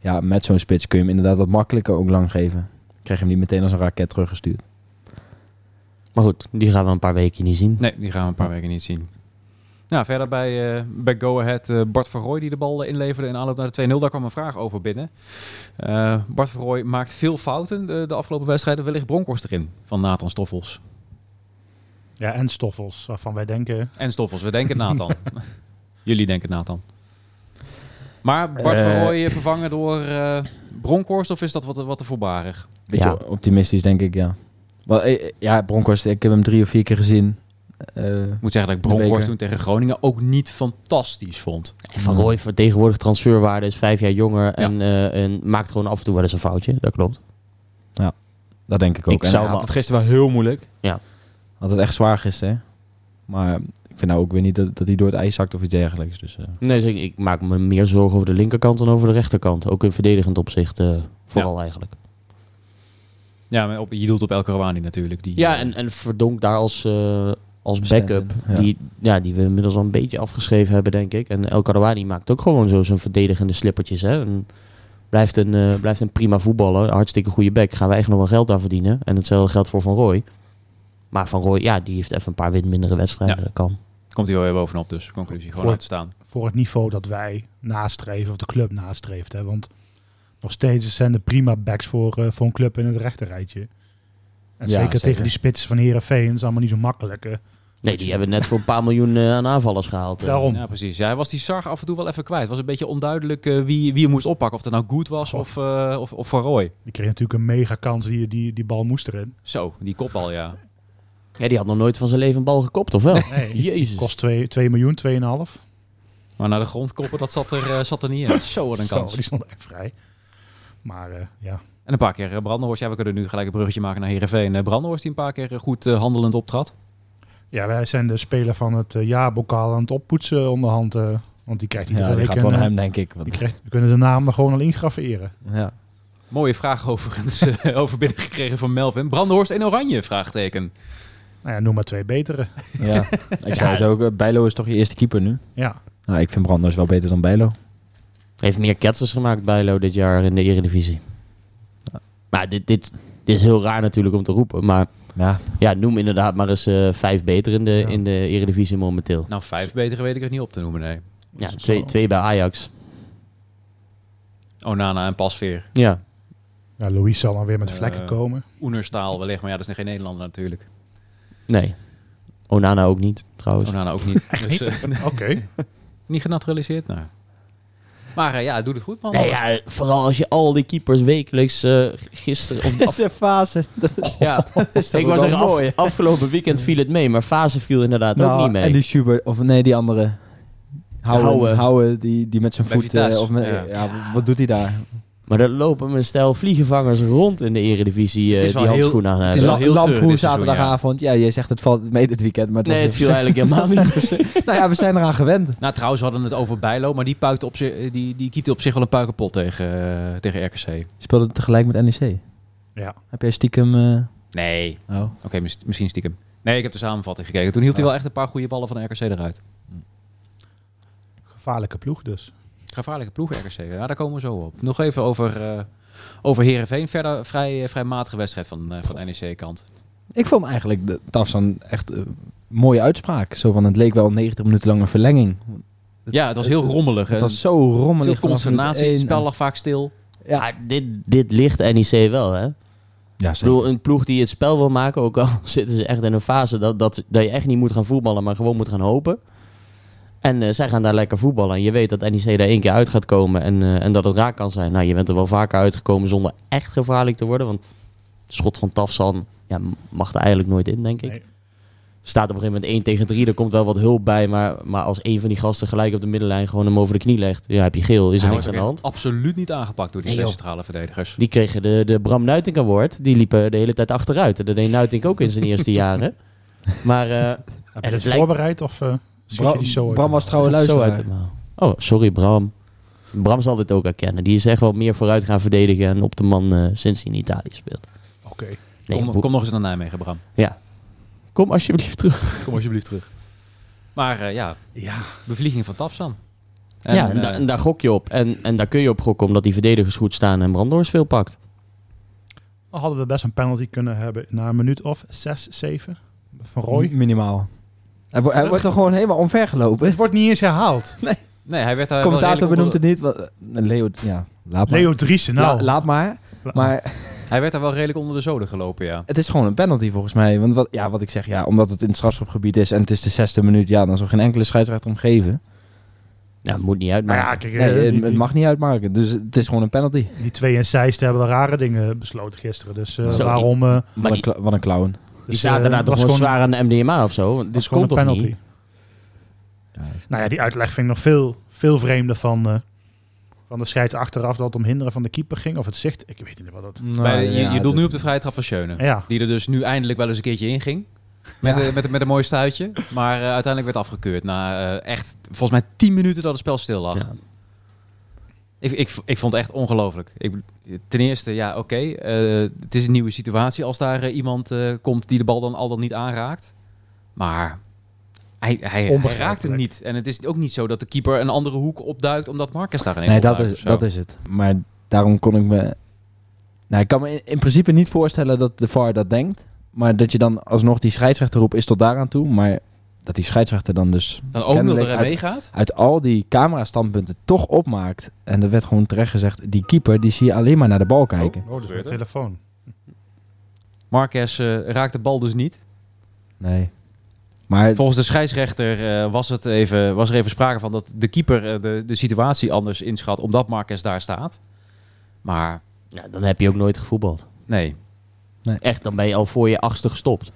Speaker 4: Ja, met zo'n spits kun je hem inderdaad wat makkelijker ook lang geven. Krijg je hem niet meteen als een raket teruggestuurd.
Speaker 3: maar goed, die gaan we een paar weken niet zien.
Speaker 2: Nee, die gaan we een paar weken niet zien. Nou, verder bij, eh, bij Go Ahead eh, Bart van Rooij die de bal eh, inleverde in aanloop naar de 2-0. Daar kwam een vraag over binnen. Eh, Bart van Rooij maakt veel fouten eh, de, de afgelopen wedstrijden. Wellicht Bronkhorst erin van Nathan Stoffels.
Speaker 6: ja en Stoffels, waarvan wij denken...
Speaker 2: En Stoffels, we denken Nathan. Jullie denken Nathan. Maar Bart van
Speaker 4: Eh.
Speaker 2: Rooij eh, vervangen door eh Bronkhorst of is dat wat, wat te voorbarig?
Speaker 4: Beetje
Speaker 3: Ja.
Speaker 4: optimistisch, denk ik, ja. Wel, eh, eh, ja, Bronkhorst, ik heb hem drie of vier keer gezien. Eh,
Speaker 2: Ik moet zeggen dat ik
Speaker 4: De
Speaker 2: Bronkhorst toen
Speaker 4: beker.
Speaker 2: tegen Groningen ook niet fantastisch vond.
Speaker 3: Van Rooij vertegenwoordigt transferwaarde, is vijf jaar jonger en, eh, en maakt gewoon af en toe wel eens een foutje. Dat klopt.
Speaker 4: Dat denk ik ook.
Speaker 3: Ik
Speaker 4: en
Speaker 3: zou
Speaker 4: hij had
Speaker 3: wel-
Speaker 4: het gisteren wel heel moeilijk.
Speaker 3: Ja.
Speaker 4: Had het echt zwaar gisteren. hè. Maar ik vind nou ook weer niet dat, dat hij door het ijs zakt of iets dergelijks. Dus, eh,
Speaker 3: Nee, dus ik, ik maak me meer zorgen over de linkerkant dan over de rechterkant. Ook in verdedigend opzicht eh, vooral eigenlijk.
Speaker 2: Ja, maar op, je doelt op El Karawani natuurlijk. Die, eh,
Speaker 3: Ja, en, en Verdonk daar als, eh, als
Speaker 4: Stand-in,
Speaker 3: backup.
Speaker 4: ja.
Speaker 3: Die, ja, die we inmiddels al een beetje afgeschreven hebben, denk ik. En El Karouani maakt ook gewoon zo zijn verdedigende slippertjes. Hè? En blijft, een, eh, blijft een prima voetballer. Hartstikke goede back. Gaan wij echt nog wel geld aan verdienen. En hetzelfde geldt voor Van Rooij. Maar Van Rooij, ja, die heeft even een paar win mindere wedstrijden.
Speaker 2: Ja.
Speaker 3: Dat kan.
Speaker 2: Komt hij wel weer bovenop, dus conclusie. Gewoon
Speaker 6: Voor-
Speaker 2: laten staan.
Speaker 6: voor het niveau dat wij nastreven, of de club nastreeft. Hè? Want nog steeds zijn er prima backs voor, eh, voor een club in het rechterrijtje. En
Speaker 4: Ja,
Speaker 6: zeker,
Speaker 4: zeker.
Speaker 6: tegen die spits van Herenveen is allemaal niet zo makkelijk. eh.
Speaker 3: Nee, die hebben net voor een paar miljoen eh, aan aanvallers gehaald. eh.
Speaker 6: Daarom.
Speaker 2: Ja, precies. Ja, hij was die Sar af en toe wel even kwijt. Het was een beetje onduidelijk eh, wie, wie hem moest oppakken. Of dat nou Goed was
Speaker 6: Goh.
Speaker 2: of, eh, of, of Van Rooij.
Speaker 6: Die kreeg natuurlijk een mega kans, die, die, die bal moest erin.
Speaker 2: Zo, die kopbal, ja.
Speaker 3: Ja, die had nog nooit van zijn leven een bal gekopt, of wel?
Speaker 6: Nee,
Speaker 3: Jezus.
Speaker 6: kost 2 2 miljoen, 2,5.
Speaker 2: Maar naar de grond koppen, dat zat er, eh, zat er niet in. Zo, wat een
Speaker 6: Zo,
Speaker 2: kans.
Speaker 6: Die stond echt vrij. Maar eh, ja,
Speaker 2: En een paar keer eh, Brandenhorst. Ja, we kunnen nu gelijk een bruggetje maken naar Heerenveen. Eh, Brandenhorst die een paar keer eh, goed eh, handelend optrad.
Speaker 6: Ja, wij zijn de speler van het eh, jaarbokaal aan het oppoetsen onderhand. eh, want die krijgt iedere
Speaker 4: Ja, die
Speaker 6: week
Speaker 4: gaat wel
Speaker 6: een,
Speaker 4: naar
Speaker 6: eh,
Speaker 4: hem, denk ik.
Speaker 6: die
Speaker 4: Want,
Speaker 6: krijgt, we kunnen de naam er gewoon al ingraveren.
Speaker 4: ja.
Speaker 2: Mooie vraag overigens eh, over binnengekregen van Melvin. Brandenhorst in oranje? Vraagteken.
Speaker 6: Nou ja, noem maar twee betere.
Speaker 4: ja. Ik zei het ook, eh, Bijlo is toch je eerste keeper nu?
Speaker 6: Ja,
Speaker 4: Nou, ik vind Branders wel beter dan Bijlo.
Speaker 3: Heeft meer ketsers gemaakt Bijlo dit jaar in de Eredivisie. Maar dit, dit, dit is heel raar natuurlijk om te roepen. Maar
Speaker 4: Ja,
Speaker 3: ja, noem inderdaad maar eens eh, vijf beter in de,
Speaker 6: Ja.
Speaker 3: in de Eredivisie momenteel.
Speaker 2: Nou, vijf betere weet ik het niet op te noemen, nee.
Speaker 3: Ja,
Speaker 6: is het
Speaker 3: twee,
Speaker 6: zo?
Speaker 3: twee bij Ajax.
Speaker 2: Onana en Pasveer.
Speaker 3: Ja.
Speaker 6: ja Louis zal dan weer met vlekken
Speaker 2: Eh,
Speaker 6: komen.
Speaker 2: Oenerstaal wellicht, maar ja, dat is geen Nederlander natuurlijk.
Speaker 3: Nee. Onana ook niet, trouwens.
Speaker 2: Onana ook niet. Dus, eh,
Speaker 6: Oké.
Speaker 2: niet genaturaliseerd, nou. Maar eh, ja, hij doet het goed, man.
Speaker 3: Nee, ja, vooral als je al die keepers wekelijks eh, gisteren... Of,
Speaker 4: de fase.
Speaker 3: ja, ik was er af, afgelopen weekend viel het mee, maar fase viel inderdaad ook niet mee.
Speaker 4: Nou, En die Schubert, of nee, die andere.
Speaker 3: Houwe.
Speaker 4: Houwen, Houwe die, die met zijn
Speaker 2: Bij
Speaker 4: voet... eh,
Speaker 2: Vitesse.
Speaker 4: of met,
Speaker 2: Ja.
Speaker 4: ja. wat doet hij daar?
Speaker 3: Maar er lopen een stel vliegenvangers rond in de Eredivisie eh,
Speaker 2: Het is wel
Speaker 3: die
Speaker 2: heel-
Speaker 3: handschoenen aan
Speaker 4: Het
Speaker 3: hebben.
Speaker 4: is
Speaker 2: wel
Speaker 4: wel
Speaker 2: heel
Speaker 4: een
Speaker 2: treurig
Speaker 4: lamproe
Speaker 2: dit seizoen,
Speaker 4: zaterdagavond. Ja. je zegt het valt mee dit weekend, maar het
Speaker 3: Nee, het
Speaker 4: was
Speaker 3: viel eigenlijk helemaal niet.
Speaker 4: nou ja, we zijn eraan gewend.
Speaker 2: Nou, trouwens, we hadden het over Bijlo, maar die, puikte op zich, eh, die, die keepte op zich wel een puikenpot tegen, eh, tegen RKC.
Speaker 4: Speelde het tegelijk met NEC.
Speaker 6: Ja.
Speaker 4: Heb jij stiekem... eh,
Speaker 2: Nee,
Speaker 4: oh.
Speaker 2: oké, mis- misschien stiekem. Nee, ik heb de samenvatting gekeken. Toen hield hij wel echt een paar goede ballen van RKC eruit.
Speaker 6: Gevaarlijke ploeg dus.
Speaker 2: Gevaarlijke ploeg RKC, ja, daar komen we zo op. Nog even over, eh over Heerenveen. Verder vrij, eh, vrij matige wedstrijd van, eh, van NEC-kant.
Speaker 4: Ik vond eigenlijk de Tafsan echt eh, mooie uitspraak. Zo van, het leek wel 90 minuten lang een verlenging.
Speaker 2: Ja, het was heel rommelig.
Speaker 4: Het
Speaker 2: hè.
Speaker 4: was zo rommelig.
Speaker 2: Veel
Speaker 4: vanaf
Speaker 2: consternatie,
Speaker 4: minuut
Speaker 2: het
Speaker 4: één.
Speaker 2: spel lag vaak stil.
Speaker 3: Ja, dit, dit ligt NEC wel, hè? Ik
Speaker 4: Ja, zeker.
Speaker 3: bedoel, een ploeg die het spel wil maken, ook al zitten ze echt in een fase dat, dat, dat je echt niet moet gaan voetballen, maar gewoon moet gaan hopen. En eh, zij gaan daar lekker voetballen. En je weet dat NEC daar één keer uit gaat komen en, eh, en dat het raak kan zijn. Nou, je bent er wel vaker uitgekomen zonder echt gevaarlijk te worden. Want het schot van Tafsan ja, mag er eigenlijk nooit in, denk ik.
Speaker 6: Nee.
Speaker 3: Staat op een gegeven moment 1 tegen 3, er komt wel wat hulp bij. Maar, maar als één van die gasten gelijk op de middenlijn gewoon hem over de knie legt, ja, heb je geel, is er
Speaker 2: Hij
Speaker 3: niks
Speaker 2: was
Speaker 3: aan
Speaker 2: ook
Speaker 3: de
Speaker 2: echt
Speaker 3: hand.
Speaker 2: absoluut niet aangepakt door die
Speaker 3: Nee,
Speaker 2: twee
Speaker 3: joh.
Speaker 2: centrale verdedigers.
Speaker 3: Die kregen de, de Bram Nuitink Award. Die liepen de hele tijd achteruit. En dat deed Nuitink ook in zijn eerste jaren. Maar eh
Speaker 6: Heb
Speaker 3: dat
Speaker 6: je dit
Speaker 3: lijkt-
Speaker 6: voorbereid of eh schiet je die zo
Speaker 4: Bram,
Speaker 6: uit
Speaker 4: Bram
Speaker 6: de
Speaker 4: was
Speaker 6: mouw?
Speaker 4: trouwens
Speaker 3: zo
Speaker 4: luisteraar.
Speaker 3: uit de mouw. Oh, sorry Bram. Bram zal dit ook herkennen. Die is echt wel meer vooruit gaan verdedigen en op de man eh, sinds hij in Italië speelt.
Speaker 6: Oké.
Speaker 3: Nee,
Speaker 2: kom,
Speaker 3: hoe-
Speaker 2: kom nog eens naar Nijmegen, Bram.
Speaker 3: Ja. kom alsjeblieft terug.
Speaker 2: Kom alsjeblieft terug. Maar eh, ja,
Speaker 6: Ja.
Speaker 2: bevlieging van Tafsan.
Speaker 3: ja, en,
Speaker 2: eh,
Speaker 3: da- en daar gok je op. En, en daar kun je op gokken omdat die verdedigers goed staan en Brandoors veel pakt.
Speaker 6: Dan hadden we best een penalty kunnen hebben na een minuut of 6, 7. Van Roy.
Speaker 4: M- Minimaal. Hij, wo- hij wordt er gewoon helemaal omver gelopen.
Speaker 6: Het wordt niet eens herhaald.
Speaker 2: nee, hij werd daar wel
Speaker 4: Commentator
Speaker 2: redelijk
Speaker 4: benoemt
Speaker 2: onder-
Speaker 4: het niet. wa- eh, Leo, ja, laat maar.
Speaker 6: Leo Driessen, nou.
Speaker 4: La- laat maar. Maar
Speaker 2: Hij werd daar wel redelijk onder de zoden gelopen, ja.
Speaker 4: Het is gewoon een penalty volgens mij. Want wat, ja, wat ik zeg, ja, omdat het in het strafschopgebied is en het is de zesde minuut, ja, dan zal geen enkele scheidsrechter hem geven.
Speaker 3: Nou, moet niet
Speaker 6: nou
Speaker 3: uitmaken.
Speaker 6: ja, kijk, eh,
Speaker 4: Nee,
Speaker 6: die-
Speaker 4: het, het
Speaker 6: die-
Speaker 4: mag niet uitmaken. Dus het is gewoon een penalty.
Speaker 6: Die twee en Zeist hebben wel rare dingen besloten gisteren. Dus eh,
Speaker 3: Zo,
Speaker 6: waarom... eh
Speaker 3: Maar
Speaker 4: Wat,
Speaker 3: die-
Speaker 4: een, cla- wat een clown.
Speaker 3: die
Speaker 6: dus,
Speaker 3: zaten
Speaker 6: eh,
Speaker 3: daar toch
Speaker 6: was
Speaker 3: gewoon
Speaker 6: gewoon-
Speaker 3: zwaar aan de MDMA of zo. Dit
Speaker 6: was gewoon
Speaker 3: komt
Speaker 6: een
Speaker 3: toch
Speaker 6: penalty.
Speaker 3: niet?
Speaker 6: Nou ja, die uitleg vind ik nog veel, veel vreemder van, eh, van de scheids achteraf dat het om hinderen van de keeper ging. Of het zicht. Ik weet niet wat Nou dat...
Speaker 2: Bij de- je
Speaker 4: ja,
Speaker 2: je doelt
Speaker 4: dat-
Speaker 2: nu op de vrijheid trap van Schöne.
Speaker 6: Ja,
Speaker 2: Die er dus nu eindelijk wel eens een keertje in ging. Met, een- met, een- met een mooi stuitje. Maar eh, uiteindelijk werd afgekeurd. Na eh, echt, volgens mij, 10 minuten dat het spel stil lag.
Speaker 3: Ja.
Speaker 2: Ik, ik, ik vond het echt ongelooflijk. Ik, ten eerste, ja, oké. eh, het is een nieuwe situatie als daar eh, iemand eh, komt die de bal dan al dan niet aanraakt. Maar hij, hij, hij
Speaker 6: Onbegrijpelijk.
Speaker 2: raakt hem niet. En het is ook niet zo dat de keeper een andere hoek opduikt omdat Marcus daar ineens
Speaker 4: Nee, dat
Speaker 2: opduikt
Speaker 4: is,
Speaker 2: of zo.
Speaker 4: dat is het. Maar daarom kon ik me. Nou, ik kan me in, in principe niet voorstellen dat de VAR dat denkt. Maar dat je dan alsnog die scheidsrechter roept is tot daaraan toe. Maar dat die scheidsrechter dan dus
Speaker 2: Dan ook nog
Speaker 4: Kennelijk
Speaker 2: erin
Speaker 4: uit-
Speaker 2: meegaat.
Speaker 4: uit al die camera-standpunten toch opmaakt. En er werd gewoon terecht gezegd, die keeper die zie je alleen maar naar de bal kijken.
Speaker 6: Oh, dat is mijn
Speaker 7: Gebeurt er?
Speaker 6: telefoon.
Speaker 2: Marquez eh, raakt de bal dus niet.
Speaker 4: Nee. Maar
Speaker 2: Volgens de scheidsrechter eh, was, het even, was er even sprake van dat de keeper eh, de, de situatie anders inschat. Omdat Marquez daar staat. Maar
Speaker 3: Ja, dan heb je ook nooit gevoetbald.
Speaker 2: nee.
Speaker 3: Echt, dan ben je al voor je achtste gestopt.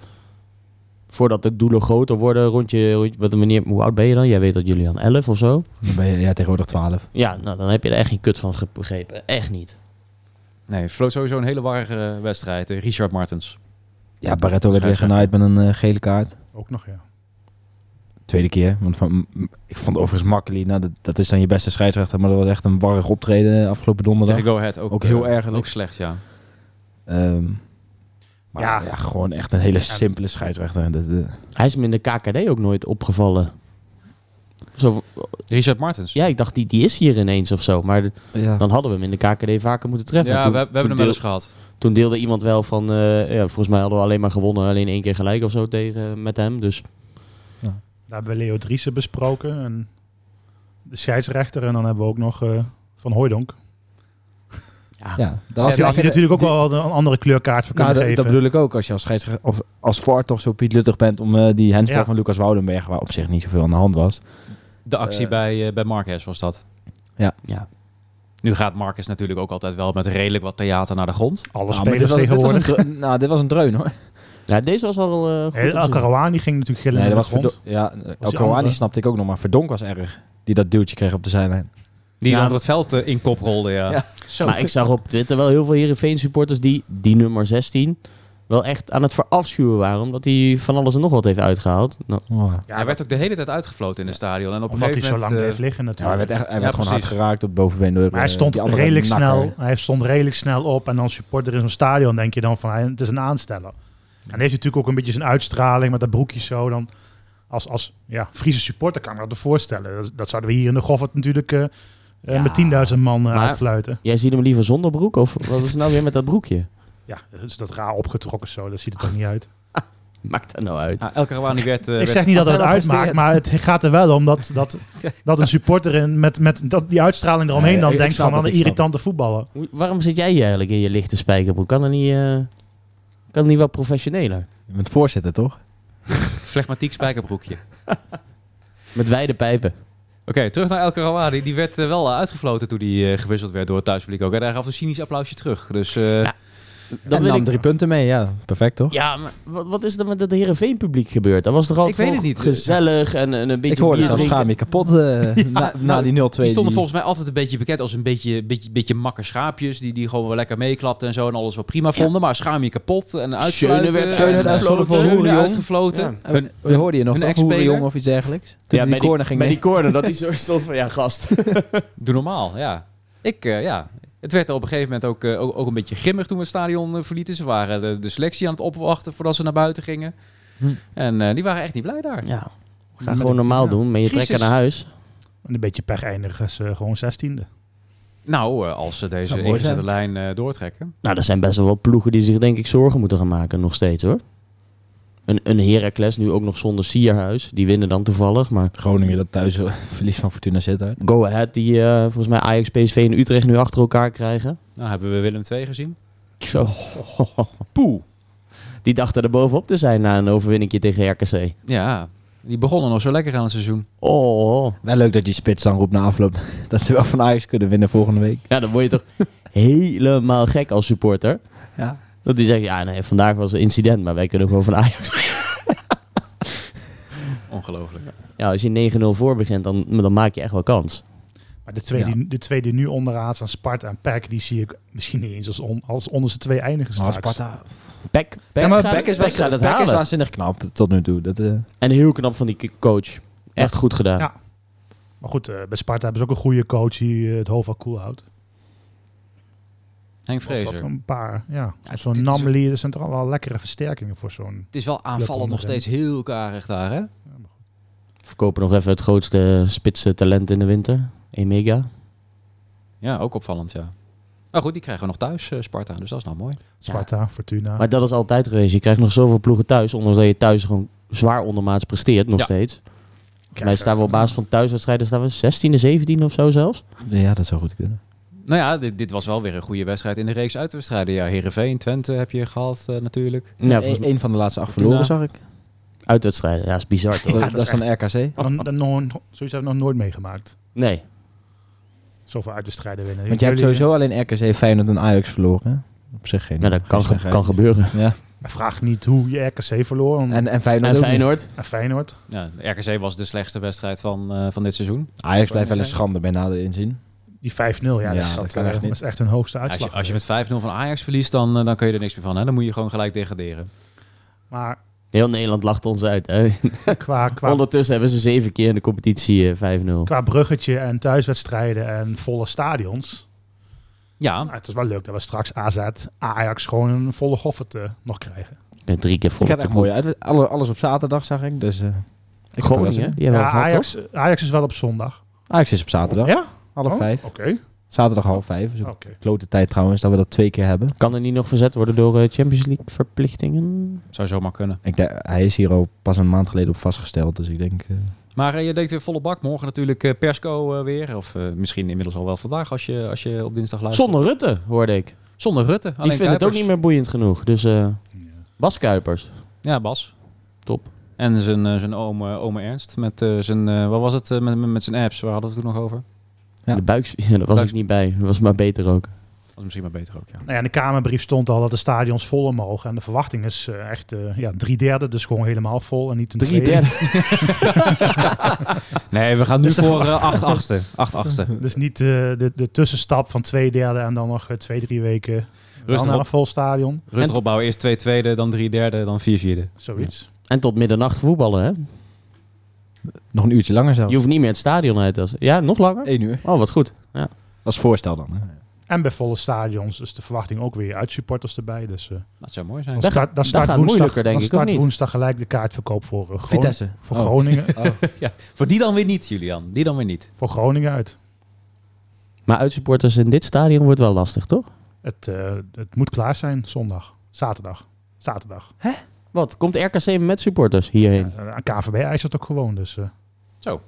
Speaker 3: Voordat de doelen groter worden, rond je... Rond je- wat, wanneer, hoe oud ben je dan? Jij weet dat Julian 11 of zo?
Speaker 4: dan ben je ja, tegenwoordig 12.
Speaker 3: Ja, nou, dan heb je er echt geen kut van ge- begrepen. Echt niet.
Speaker 2: Nee, vloot sowieso een hele warrige wedstrijd. eh, Richard Martens.
Speaker 4: Ja, Barretto werd weer
Speaker 2: Scheidsrechter.
Speaker 4: genaaid met een eh, gele kaart.
Speaker 6: Ook nog, ja.
Speaker 4: Tweede keer. Want van, m- ik vond overigens Makkeli, nou, dat, dat is dan je beste scheidsrechter. Maar dat was echt een warrig optreden afgelopen donderdag.
Speaker 2: Tegen Go Ahead ook,
Speaker 4: Ook heel
Speaker 2: eh,
Speaker 4: erg
Speaker 2: Ook
Speaker 4: leuk.
Speaker 2: slecht, ja.
Speaker 4: Ehm, maar
Speaker 6: Ja.
Speaker 4: ja. gewoon echt een hele simpele scheidsrechter. Dat, eh,
Speaker 3: Hij is me in de KKD ook nooit opgevallen. Zo,
Speaker 2: Richard Martens.
Speaker 3: ja, ik dacht, die, die is hier ineens of zo. Maar de- dan hadden we hem in de KKD vaker moeten treffen.
Speaker 2: Ja,
Speaker 3: Toen-
Speaker 2: we, we hebben
Speaker 3: toen
Speaker 2: hem wel
Speaker 3: deel-
Speaker 2: eens gehad.
Speaker 3: Toen deelde iemand wel van, eh, ja, volgens mij hadden we alleen maar gewonnen, alleen één keer gelijk of zo tegen met hem. Dus
Speaker 6: Daar hebben we Leo Driessen besproken. En de scheidsrechter. En dan hebben we ook nog eh, Van Hooijdonk.
Speaker 4: ja. Daar
Speaker 6: Daar had hij natuurlijk ook wel een andere kleurkaart voor
Speaker 4: Nou,
Speaker 6: kunnen
Speaker 4: dat,
Speaker 6: geven.
Speaker 4: dat bedoel ik ook. Als je als scheidsrechter of als VAR toch zo pietluttig bent om eh, die handsbal
Speaker 6: Ja.
Speaker 4: van Lucas Woudenberg, waar op zich niet zoveel aan de hand was.
Speaker 2: De actie
Speaker 4: Eh.
Speaker 2: bij, eh, bij Marquez was dat.
Speaker 4: Ja.
Speaker 3: Ja.
Speaker 2: Nu gaat Marquez natuurlijk ook altijd wel met redelijk wat theater naar de grond.
Speaker 4: Nou,
Speaker 6: Alle
Speaker 4: maar
Speaker 6: spelers
Speaker 4: dit was, dit was een
Speaker 6: tegenwoordig.
Speaker 4: dreun- nou, dit was een dreun hoor.
Speaker 3: ja, deze was wel eh, goed.
Speaker 6: Hey,
Speaker 3: om te zien.
Speaker 6: Al-Karawani ging natuurlijk gillen
Speaker 4: Nee,
Speaker 6: in
Speaker 4: dat
Speaker 6: de
Speaker 4: was
Speaker 6: grond.
Speaker 4: Verdo- ja, El
Speaker 6: andere?
Speaker 4: Kouani snapte ik ook nog, maar Verdonk was erg. Die dat duwtje kreeg op de zijlijn.
Speaker 2: Die
Speaker 3: Ja,
Speaker 2: onder het veld eh, in kop rolde, ja.
Speaker 4: Ja.
Speaker 2: Zo.
Speaker 3: Maar ik zag op Twitter wel heel veel Heerenveen supporters die, die nummer 16, wel echt aan het verafschuwen waren. Omdat hij van alles en nog wat heeft uitgehaald. Nou,
Speaker 4: Oh.
Speaker 6: Ja,
Speaker 2: hij werd ook de hele tijd uitgefloten in het stadion. En op een
Speaker 6: omdat hij
Speaker 2: gegeven
Speaker 6: zo
Speaker 2: moment...
Speaker 6: lang
Speaker 2: eh,
Speaker 6: bleef liggen
Speaker 4: Ja, hij
Speaker 6: natuurlijk.
Speaker 4: werd, echt, hij
Speaker 2: Ja,
Speaker 4: werd gewoon hard
Speaker 2: precies.
Speaker 4: geraakt op het bovenbeen door
Speaker 6: maar hij
Speaker 4: eh,
Speaker 6: stond,
Speaker 4: die andere
Speaker 6: redelijk
Speaker 4: nakker.
Speaker 6: snel, hij stond redelijk snel op. En als supporter in zo'n stadion denk je dan van hij- het is een aansteller. En heeft hij natuurlijk ook een beetje zijn uitstraling met dat broekje zo. Dan als, als ja, Friese supporter kan ik me dat voorstellen. Dat, dat zouden we hier in de Goffert natuurlijk eh, eh,
Speaker 3: Ja.
Speaker 6: met 10.000 man eh,
Speaker 3: Maar-
Speaker 6: uitfluiten.
Speaker 3: jij ziet hem liever zonder broek? Of wat is er nou weer met dat broekje?
Speaker 6: Ja, dat is dat raar opgetrokken zo. Dat ziet er toch niet uit.
Speaker 3: Maakt dat nou uit?
Speaker 2: Ja, El Karawani werd... eh,
Speaker 6: Ik
Speaker 2: werd-
Speaker 6: zeg niet dat
Speaker 4: als
Speaker 6: het
Speaker 4: hij dat
Speaker 6: uitmaakt,
Speaker 4: presteert.
Speaker 6: maar het gaat er wel om dat, dat, dat een supporter in, met, met dat, die uitstraling eromheen
Speaker 4: Nee,
Speaker 6: dan
Speaker 4: ik
Speaker 6: denkt
Speaker 4: snap
Speaker 6: van
Speaker 4: het,
Speaker 6: wat een
Speaker 4: ik snap
Speaker 6: irritante voetballer.
Speaker 3: Hoe- Waarom zit jij hier eigenlijk in je lichte spijkerbroek? Kan er niet, eh, kan er niet wat professioneler?
Speaker 4: Je bent voorzitter, toch?
Speaker 2: Flegmatiek spijkerbroekje. Oké,
Speaker 3: Met wijde pijpen.
Speaker 2: terug naar El Karawani. Die werd eh, wel uitgefloten toen hij eh, gewisseld werd door het thuispubliek ook. En hij gaf een cynisch applausje terug. Dus eh,
Speaker 3: Ja.
Speaker 4: Dan
Speaker 3: Dan
Speaker 4: en
Speaker 3: wil
Speaker 4: nam
Speaker 3: ik-
Speaker 4: drie punten mee, ja. Perfect, toch?
Speaker 3: Ja, maar wat, wat is er met het Heerenveen publiek gebeurd? Dat was toch altijd
Speaker 2: Ik weet het
Speaker 3: gewoon
Speaker 2: niet.
Speaker 3: gezellig en, en een beetje
Speaker 4: ik hoorde
Speaker 3: bier
Speaker 4: zelfs
Speaker 3: drinken?
Speaker 4: schaam je kapot eh, na, na die 0-2.
Speaker 2: die stonden
Speaker 4: die-
Speaker 2: volgens mij altijd een beetje bekend als een beetje, beetje, beetje makker schaapjes. Die, die gewoon wel lekker meeklapten en zo. En alles wel prima vonden. Maar schaam je kapot en uitfluiten.
Speaker 3: Schöne werd
Speaker 2: en-
Speaker 4: Schöne werd uitgefloten voor
Speaker 2: Schöne
Speaker 4: Roerion.
Speaker 2: uitgefloten.
Speaker 3: Ja.
Speaker 2: Hun-
Speaker 4: We hoorden Oh, je nog
Speaker 2: Een
Speaker 4: toch?
Speaker 2: ex-speler?
Speaker 4: Hoe jong of iets dergelijks? Toen die
Speaker 3: bij
Speaker 4: corner ging
Speaker 3: bij
Speaker 4: nemen.
Speaker 3: die corner, dat hij zo stond van, ja gast.
Speaker 2: Doe normaal, ja. Ik, eh, ja. Het werd op een gegeven moment ook, eh, ook, ook een beetje grimmig toen we het stadion eh, verlieten. Ze waren de, de selectie aan het opwachten voordat ze naar buiten gingen.
Speaker 4: Hm.
Speaker 2: En eh, die waren echt niet blij daar.
Speaker 3: Ja, ga gewoon normaal doen, maar je
Speaker 2: Crisis.
Speaker 3: trekken naar huis.
Speaker 6: En een beetje pech eindigen ze eh, gewoon zestiende.
Speaker 2: Nou, eh, als ze deze
Speaker 4: Zou mooi
Speaker 2: ingezette
Speaker 4: zijn.
Speaker 2: lijn eh, doortrekken.
Speaker 3: Nou, er zijn best wel wat ploegen die zich denk ik zorgen moeten gaan maken nog steeds hoor. Een, een Heracles nu ook nog zonder Sierhuis. Die winnen dan toevallig, maar
Speaker 4: Groningen dat thuis eh, verlies van Fortuna Sittard.
Speaker 3: Go Ahead die eh, volgens mij Ajax, PSV en Utrecht nu achter elkaar krijgen.
Speaker 2: Nou, hebben we Willem II gezien.
Speaker 3: Zo.
Speaker 2: Poeh.
Speaker 3: Die dachten er bovenop te zijn na een overwinningje tegen RKC.
Speaker 2: Ja, die begonnen nog zo lekker aan het seizoen.
Speaker 3: Oh.
Speaker 4: Wel leuk dat die spits dan roept na afloop dat ze wel van Ajax kunnen winnen volgende week.
Speaker 3: Ja, dan word je toch helemaal gek als supporter.
Speaker 4: Ja.
Speaker 3: Dat die zegt, ja nee, vandaag was een incident, maar wij kunnen gewoon van Ajax.
Speaker 2: Ongelooflijk.
Speaker 3: Ja, als je 9-0 voor begint, dan, dan maak je echt wel kans.
Speaker 6: Maar de twee,
Speaker 4: Ja.
Speaker 6: die, de twee die nu onderaan staan, Sparta en PEC, die zie ik misschien niet eens als, on, als onderste twee eindigen
Speaker 4: Maar
Speaker 6: straks.
Speaker 4: Sparta...
Speaker 3: Pek, Pek,
Speaker 4: Ja, maar
Speaker 3: gaat,
Speaker 4: Beck is,
Speaker 3: Pek gaat het
Speaker 4: Beck is
Speaker 3: halen.
Speaker 4: waanzinnig knap tot nu toe. Dat, eh,
Speaker 3: En heel knap van die k- coach. Echt goed gedaan.
Speaker 6: Ja. Maar goed, eh, bij Sparta hebben ze ook een goede coach die eh, het hoofd wel koel houdt.
Speaker 2: Henk
Speaker 6: Of dat
Speaker 2: Vrezer.
Speaker 6: Een paar, ja.
Speaker 2: Ja, dit
Speaker 6: zo'n
Speaker 2: is-
Speaker 6: Namely, dat zijn toch wel lekkere versterkingen voor zo'n...
Speaker 2: Het is wel aanvallend nog steeds heel karig daar, hè?
Speaker 3: Verkopen nog even het grootste spitse talent in de winter. Emega.
Speaker 2: Ja, ook opvallend, ja. Oké, Maar goed, die krijgen we nog thuis, eh, Sparta. Dus dat is nou mooi.
Speaker 6: Sparta, Fortuna.
Speaker 3: Maar dat is altijd geweest. Je krijgt nog zoveel ploegen thuis, ondanks dat je thuis gewoon zwaar ondermaats presteert nog
Speaker 2: Ja.
Speaker 3: steeds. Volgens mij staan we op basis van thuiswedstrijden staan we 16e, 17e of zo zelfs.
Speaker 4: Ja, dat zou goed kunnen.
Speaker 2: Nou ja, dit, dit was wel weer een goede wedstrijd in de reeks uitwedstrijden. Ja, Heerenveen, Twente heb je gehad eh, natuurlijk.
Speaker 3: Ja,
Speaker 4: Ja,
Speaker 3: volgens mij-
Speaker 4: e- een van de laatste acht verloren zag ik.
Speaker 3: Uitwedstrijden, ja, is bizar toch?
Speaker 4: dat, dat is dan RKC.
Speaker 6: Dan, dan nog, zoiets heb ik nog nooit meegemaakt.
Speaker 3: Nee.
Speaker 6: Zoveel uitwedstrijden winnen.
Speaker 4: Want jij hebt
Speaker 6: Jullie-
Speaker 4: sowieso alleen RKC, Feyenoord en Ajax verloren. hè? Op zich geen.
Speaker 3: Nou, dat kan, ge-
Speaker 4: geen-
Speaker 3: kan gebeuren.
Speaker 4: Ja.
Speaker 6: Maar Vraag niet hoe je RKC verloor. want-
Speaker 4: En, en Feyenoord
Speaker 3: En
Speaker 4: ook
Speaker 3: Feyenoord?
Speaker 6: en Feyenoord.
Speaker 2: Ja, de RKC was de slechtste wedstrijd van, eh, van dit seizoen.
Speaker 4: niet. Ajax blijft wel een schande bij nader inzien.
Speaker 6: Die 5-0, ja,
Speaker 4: Ja,
Speaker 6: dat, is,
Speaker 4: dat
Speaker 6: dat,
Speaker 4: kan
Speaker 6: eh,
Speaker 4: echt niet.
Speaker 6: is echt hun hoogste
Speaker 2: Als je,
Speaker 6: uitslag.
Speaker 2: als je met 5-0 van Ajax verliest, dan, eh, dan kun je er niks meer van. Hè? Dan moet je gewoon gelijk degraderen.
Speaker 6: Maar
Speaker 3: Heel Nederland lacht ons uit. Hè?
Speaker 6: qua, qua,
Speaker 3: Ondertussen hebben ze zeven keer in de competitie eh, 5-0.
Speaker 6: qua bruggetje en thuiswedstrijden en volle stadions.
Speaker 2: Ja,
Speaker 6: nou, het is wel leuk dat we straks AZ, Ajax gewoon een volle goffert eh, nog krijgen.
Speaker 3: Met drie keer
Speaker 4: Ik
Speaker 3: vol.
Speaker 4: had echt mooi uit. Alle, alles op zaterdag zag ik. Dus, eh, ik
Speaker 3: Groningen, die hebben
Speaker 6: Ja,
Speaker 3: we al gehad, toch?
Speaker 6: Ajax, Ajax is wel op zondag.
Speaker 4: Ajax is op zaterdag.
Speaker 6: Ja?
Speaker 4: Half
Speaker 6: Oh,
Speaker 4: vijf.
Speaker 6: Oké.
Speaker 4: Zaterdag half vijf. Dus ook
Speaker 6: Oké.
Speaker 4: klote tijd trouwens dat we dat twee keer hebben.
Speaker 3: Kan er niet nog verzet worden door eh, Champions League verplichtingen?
Speaker 2: zou zomaar kunnen.
Speaker 4: Ik denk, hij is hier al pas een maand geleden op vastgesteld. Dus ik denk... eh,
Speaker 2: Maar eh, je denkt weer volle bak. Morgen natuurlijk eh, Persco eh, weer. Of eh, misschien inmiddels al wel vandaag als je, als je op dinsdag
Speaker 4: Ah,
Speaker 2: luistert.
Speaker 3: Zonder Rutte, hoorde ik.
Speaker 2: Zonder Rutte. Alleen
Speaker 3: Die vinden het ook
Speaker 2: Kuipers.
Speaker 3: niet meer boeiend genoeg. Dus eh Bas Kuipers.
Speaker 2: Ja, Bas.
Speaker 3: Top.
Speaker 2: En zijn, eh, zijn oom, eh, ome Ernst. Met eh, zijn, eh, wat was het? eh, met, met, met zijn apps. Waar hadden we het toen nog over?
Speaker 4: Ja.
Speaker 3: De buiks, ja, daar was
Speaker 2: Buiks-
Speaker 3: ik niet bij. Dat was maar beter ook.
Speaker 2: Dat is misschien maar beter ook, ja.
Speaker 6: Nou ja, in de Kamerbrief stond al dat de stadions vol mogen. En de verwachting is eh, echt eh, ja, drie derde, dus gewoon helemaal vol. En niet een
Speaker 3: Drie
Speaker 6: tweede.
Speaker 3: derde.
Speaker 2: Nee, we gaan nu
Speaker 6: Dus de
Speaker 2: voor eh, acht achtste. Acht achtste.
Speaker 6: Dus niet eh, de, de tussenstap van twee derde en dan nog eh, twee, drie weken wel
Speaker 2: Rustig
Speaker 6: naar
Speaker 2: op.
Speaker 6: een vol stadion.
Speaker 2: Rustig opbouwen. Eerst twee tweede, dan drie derde, dan vier vierde.
Speaker 6: Zoiets.
Speaker 3: En tot middernacht voetballen, hè?
Speaker 4: nog een uurtje langer zelfs.
Speaker 3: Je hoeft niet meer het stadion uit. Als... Ja, nog langer?
Speaker 4: Eén uur.
Speaker 3: Oh, wat goed.
Speaker 4: Als voorstel dan. Hè?
Speaker 6: En bij volle stadions is de verwachting ook weer uitsupporters erbij. Dus eh,
Speaker 2: Dat zou mooi zijn.
Speaker 6: dan,
Speaker 3: Dat
Speaker 6: start, dan
Speaker 3: dat
Speaker 6: start
Speaker 3: gaat
Speaker 6: woensdag,
Speaker 3: moeilijker, denk
Speaker 6: dan
Speaker 3: ik, of
Speaker 6: start
Speaker 3: niet?
Speaker 6: woensdag gelijk de kaartverkoop voor, eh, Gron-
Speaker 4: Vitesse.
Speaker 6: voor
Speaker 4: Oh.
Speaker 6: Groningen.
Speaker 2: Voor die dan weer niet, Julian. Die dan weer niet.
Speaker 6: voor Groningen uit.
Speaker 3: Maar uitsupporters in dit stadion wordt wel lastig, toch?
Speaker 6: Het, eh, het moet klaar zijn zondag. Zaterdag. Zaterdag.
Speaker 3: Wat? Komt RKC met supporters hierheen?
Speaker 6: Ja, eh, KVB eist het ook gewoon. Dus eh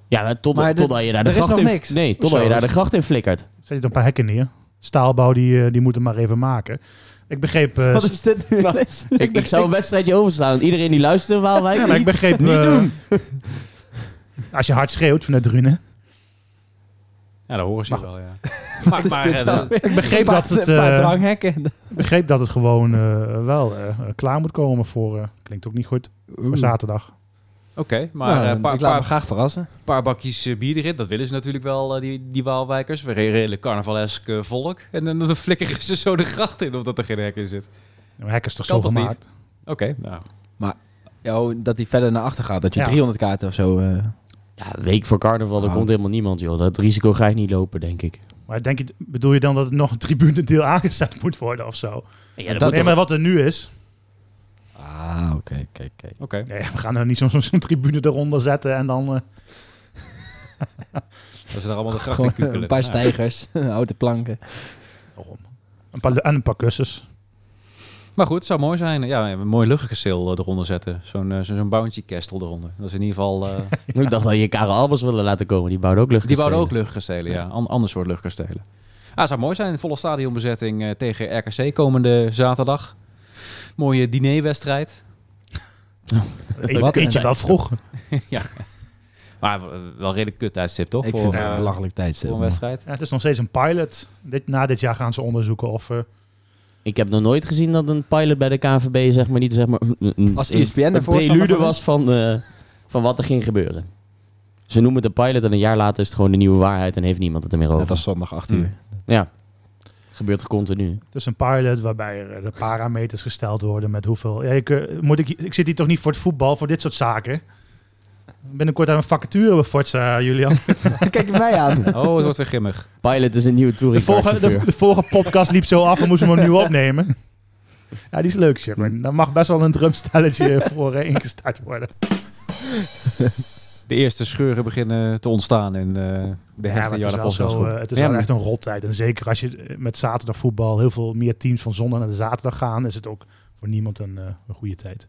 Speaker 3: Ja, maar tot,
Speaker 4: Maar de-
Speaker 3: totdat je daar de
Speaker 4: er is
Speaker 3: gracht
Speaker 4: nog
Speaker 3: in...
Speaker 4: niks.
Speaker 3: Nee, totdat
Speaker 6: Zo.
Speaker 3: je daar de gracht in flikkert.
Speaker 6: zet je er een paar hekken neer. Staalbouw, die, eh, die moeten maar even maken. Ik begreep... eh,
Speaker 4: Wat is dit nu? ineens?
Speaker 3: Ik, ik zou een wedstrijdje overslaan. Want Iedereen die luistert in Waalwijk...
Speaker 6: Ja, maar ik begreep... eh, als je hard schreeuwt vanuit Drunen.
Speaker 2: Ja, dat horen ze
Speaker 6: Maar
Speaker 2: wel, ja. Maar, maar, eh, dat-
Speaker 4: ik
Speaker 6: begreep dat het,
Speaker 4: Een paar
Speaker 6: eh,
Speaker 4: dranghekken.
Speaker 6: Ik begreep dat het gewoon eh, wel eh, klaar moet komen voor... eh, klinkt ook niet goed. Voor zaterdag. eh,
Speaker 2: Oké, maar een paar,
Speaker 4: Nou, ik laat me
Speaker 2: paar,
Speaker 4: graag verrassen.
Speaker 2: paar bakjes eh, bier erin. Dat willen ze natuurlijk wel, eh, die, die Waalwijkers. We redelijk carnavalesk eh, volk. En dan, dan flikkeren ze zo de gracht in, omdat er geen hek in zit.
Speaker 6: Een hek is Nou,
Speaker 2: Kan
Speaker 6: toch zo
Speaker 2: toch niet?
Speaker 6: gemaakt?
Speaker 2: Oké, nou.
Speaker 4: Ja, oh, dat hij verder naar achter gaat. Dat je
Speaker 6: Ja.
Speaker 4: 300 kaarten of zo... eh,
Speaker 3: Ja, week voor carnaval, er
Speaker 4: Ah.
Speaker 3: komt helemaal niemand, joh. Dat risico ga ik niet lopen, denk ik.
Speaker 6: Maar denk je, bedoel je dan dat het nog een tribunendeel aangezet moet worden of zo?
Speaker 3: Ja,
Speaker 4: dat-
Speaker 6: nee, maar wat er nu is...
Speaker 4: Ah, oké, kijk, kijk.
Speaker 2: Oké.
Speaker 6: Nee, we gaan er niet zo'n zo'n tribune eronder zetten en dan... eh,
Speaker 2: Dat ze daar allemaal de gracht in
Speaker 4: Gewoon
Speaker 2: kukelen.
Speaker 4: een paar
Speaker 2: Nou,
Speaker 4: stijgers, houten planken.
Speaker 6: waarom? Een paar, lu- en een paar kussens.
Speaker 2: Maar goed, het zou mooi zijn. Ja, een mooi luchtgekasteel eh, eronder zetten. Zo'n eh, zo- zo'n bouncy castle eronder. Dat is in ieder geval... eh,
Speaker 3: Ik dacht dat je Karel Albers wilde laten komen. Die bouwde ook lucht.
Speaker 2: die bouwden ook luchtkastelen, ja. An- ander soort luchtkastelen. Ah, het zou mooi zijn. Volle stadionbezetting eh, tegen RKC komende zaterdag. Mooie dinerwedstrijd.
Speaker 6: Eet-
Speaker 4: Wat een
Speaker 6: Eet je wel
Speaker 4: tijd.
Speaker 6: vroeg.
Speaker 2: Maar eh, wel redelijk kut tijdstip, toch?
Speaker 4: Ik
Speaker 2: Voor,
Speaker 4: vind het
Speaker 2: eh,
Speaker 4: een belachelijk
Speaker 2: voor
Speaker 4: tijdstip.
Speaker 2: een
Speaker 4: man.
Speaker 2: wedstrijd.
Speaker 6: Ja, het is nog steeds een pilot. Dit, na dit jaar gaan ze onderzoeken of... eh,
Speaker 3: Ik heb nog nooit gezien dat een pilot bij de KVB zeg maar niet zeg maar een- een,
Speaker 4: Als E
Speaker 3: een-
Speaker 4: ESPN
Speaker 3: een
Speaker 4: er voorstander
Speaker 3: prelude
Speaker 4: van is?
Speaker 3: was van, eh, van wat er ging gebeuren. Ze noemen het een pilot en een jaar later is het gewoon de nieuwe waarheid en heeft niemand het er meer over.
Speaker 4: Net als zondag 8 uur.
Speaker 3: Ja, gebeurt continu.
Speaker 6: Dus een pilot waarbij er eh, de parameters gesteld worden met hoeveel... Ja, ik, eh, moet ik, ik zit hier toch niet voor het voetbal, voor dit soort zaken? Binnenkort aan een vacature bij Forza, Julian.
Speaker 4: Kijk je mij aan.
Speaker 2: Oh, het wordt weer grimmig.
Speaker 3: Pilot is een nieuwe
Speaker 6: De
Speaker 3: touring
Speaker 6: vorige, de, de vorige podcast liep zo af en moesten we hem nu opnemen. Ja, die is leuk, Sherman. Daar mag best wel een drumstelletje voor eh, ingestart worden.
Speaker 2: De eerste scheuren beginnen te ontstaan in eh, de
Speaker 6: Ja, maar
Speaker 2: hechte
Speaker 6: het is
Speaker 2: Jarda
Speaker 6: wel,
Speaker 2: podcast
Speaker 6: zo,
Speaker 2: goed.
Speaker 6: eh, het is
Speaker 2: Ja,
Speaker 6: wel
Speaker 2: maar-
Speaker 6: echt een rottijd. En zeker als je eh, met zaterdagvoetbal heel veel meer teams van zondag naar de zaterdag gaan, is het ook voor niemand een, eh, een goede tijd.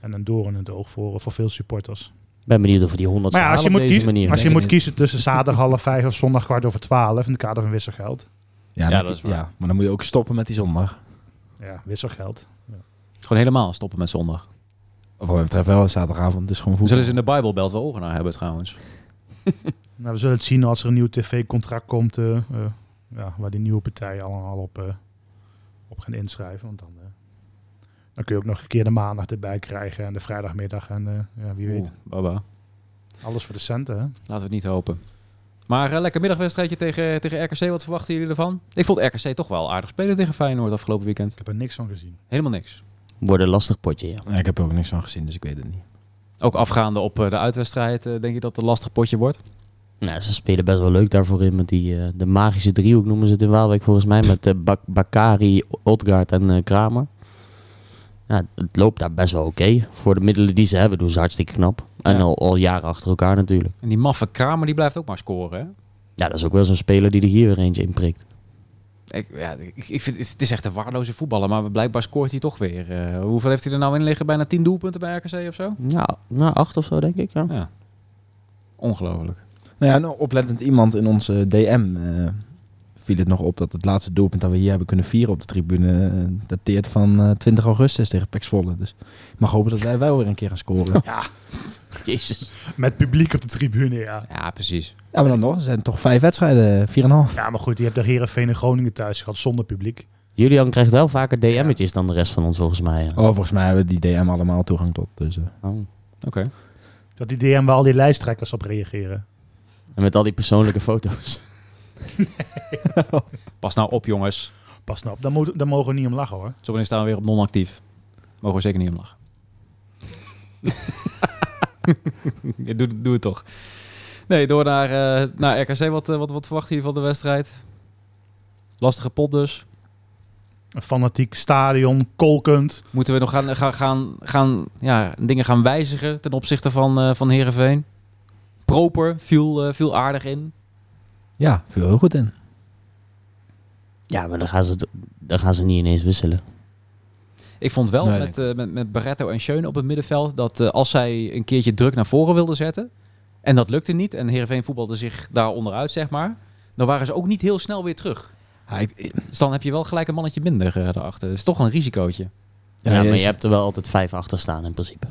Speaker 6: En een doorn in het oog voor, eh, voor veel supporters.
Speaker 3: ben benieuwd of we die 100
Speaker 6: Maar ja, als je
Speaker 3: halen
Speaker 6: moet,
Speaker 3: op deze
Speaker 6: kiezen,
Speaker 3: manier.
Speaker 6: als je
Speaker 4: Nee,
Speaker 6: moet
Speaker 4: nee.
Speaker 6: kiezen tussen zaterdag half vijf of zondag kwart over twaalf in het kader van wisselgeld.
Speaker 4: Ja,
Speaker 2: Ja,
Speaker 4: dan-
Speaker 2: dat is waar.
Speaker 4: ja, maar dan moet je ook stoppen met die zondag.
Speaker 6: Ja, wisselgeld.
Speaker 2: Gewoon helemaal stoppen met zondag.
Speaker 4: Of wat mij betreft wel zaterdagavond. Het is gewoon voetbal.
Speaker 2: Zullen ze in de Bijbelbelt wel ogen naar hebben trouwens.
Speaker 6: Nou, we zullen het zien als er een nieuw tv-contract komt, eh, eh, ja, waar die nieuwe partijen allemaal op, eh, op gaan inschrijven. Want dan, eh, dan kun je ook nog een keer de maandag erbij krijgen en de vrijdagmiddag. En eh, ja, wie weet.
Speaker 2: Oeh, baba.
Speaker 6: Alles voor de centen, hè?
Speaker 2: Laten we het niet hopen. Maar eh, lekker middagwedstrijdje tegen, tegen RKC. Wat verwachten jullie ervan? Ik vond RKC toch wel aardig spelen tegen Feyenoord afgelopen weekend.
Speaker 6: Ik heb er niks van gezien.
Speaker 2: Helemaal niks.
Speaker 3: Wordt een lastig potje, ja.
Speaker 4: Ja, ik heb er ook niks van gezien, dus ik weet het niet.
Speaker 2: Ook afgaande op eh, de uitwedstrijd eh, denk ik dat het een lastig potje wordt.
Speaker 3: Nou, ze spelen best wel leuk daarvoor in met die eh, de magische driehoek noemen ze het in Waalwijk volgens mij. Met eh, Bak- Bakari, Odgaard en eh, Kramer. Ja, het loopt daar best wel oké. Voor de middelen die ze hebben doen ze hartstikke knap. En
Speaker 2: Ja.
Speaker 3: al, al jaren achter elkaar natuurlijk.
Speaker 2: En die maffe Kramer die blijft ook maar scoren. Hè?
Speaker 3: Ja, dat is ook wel zo'n speler die er hier weer eentje in prikt.
Speaker 2: Ik, ja, ik, ik vind, het is echt een waardeloze voetballer, maar blijkbaar scoort hij toch weer. Eh, hoeveel heeft hij er nou in liggen? Bijna 10 doelpunten bij RKC of zo?
Speaker 3: Ja, nou, acht of zo denk ik. Ja.
Speaker 2: Ja. Ongelooflijk.
Speaker 4: Nou ja, een oplettend iemand in onze DM eh, viel het nog op dat het laatste doelpunt dat we hier hebben kunnen vieren op de tribune eh, dateert van eh, 20 augustus tegen Pax Volle. Dus ik mag hopen dat wij wel weer een keer gaan scoren.
Speaker 3: Jezus.
Speaker 6: Met publiek op de tribune, ja.
Speaker 2: Ja, precies.
Speaker 4: Ja, maar dan nog, er zijn toch vijf wedstrijden, 4,5.
Speaker 6: Ja, maar goed, je hebt de Herenveen en Groningen thuis gehad zonder publiek.
Speaker 3: Julian krijgt wel vaker DM'tjes dan de rest van ons volgens mij. ja.
Speaker 4: Oh, volgens mij hebben die DM allemaal toegang tot. Dus, eh.
Speaker 3: Oh.
Speaker 2: Oké.
Speaker 6: Dat die DM waar al die lijsttrekkers op reageren.
Speaker 3: En met al die persoonlijke foto's.
Speaker 2: Pas nou op, jongens.
Speaker 6: Pas nou op, daar, moet, daar mogen we niet om lachen, hoor.
Speaker 2: Zo staan we weer op non-actief. Mogen we zeker niet om lachen. Ja, doe, doe het toch. Nee, door naar, eh, naar RKC. Wat, eh, wat, wat verwacht je van de wedstrijd? Lastige pot dus.
Speaker 6: Een fanatiek stadion, kolkend.
Speaker 2: Moeten we nog gaan, gaan, gaan, gaan, ja, dingen gaan wijzigen ten opzichte van, eh van Heerenveen? Proper viel, eh, viel aardig in.
Speaker 4: Ja, viel heel goed in.
Speaker 3: Ja, maar dan gaan ze, het- dan gaan ze niet ineens wisselen.
Speaker 2: Ik vond wel
Speaker 4: Nee,
Speaker 2: met, eh, met, met Barretto en Schöne op het middenveld dat eh, als zij een keertje druk naar voren wilden zetten, en dat lukte niet, en Heerenveen voetbalde zich daar onderuit, zeg maar, dan waren ze ook niet heel snel weer terug.
Speaker 4: Hij, ja,
Speaker 2: Dus dan heb je wel gelijk een mannetje minder eh, daarachter. Dat is toch een risicootje.
Speaker 3: Ja, maar
Speaker 4: is-
Speaker 3: je hebt er wel altijd vijf achter staan in principe.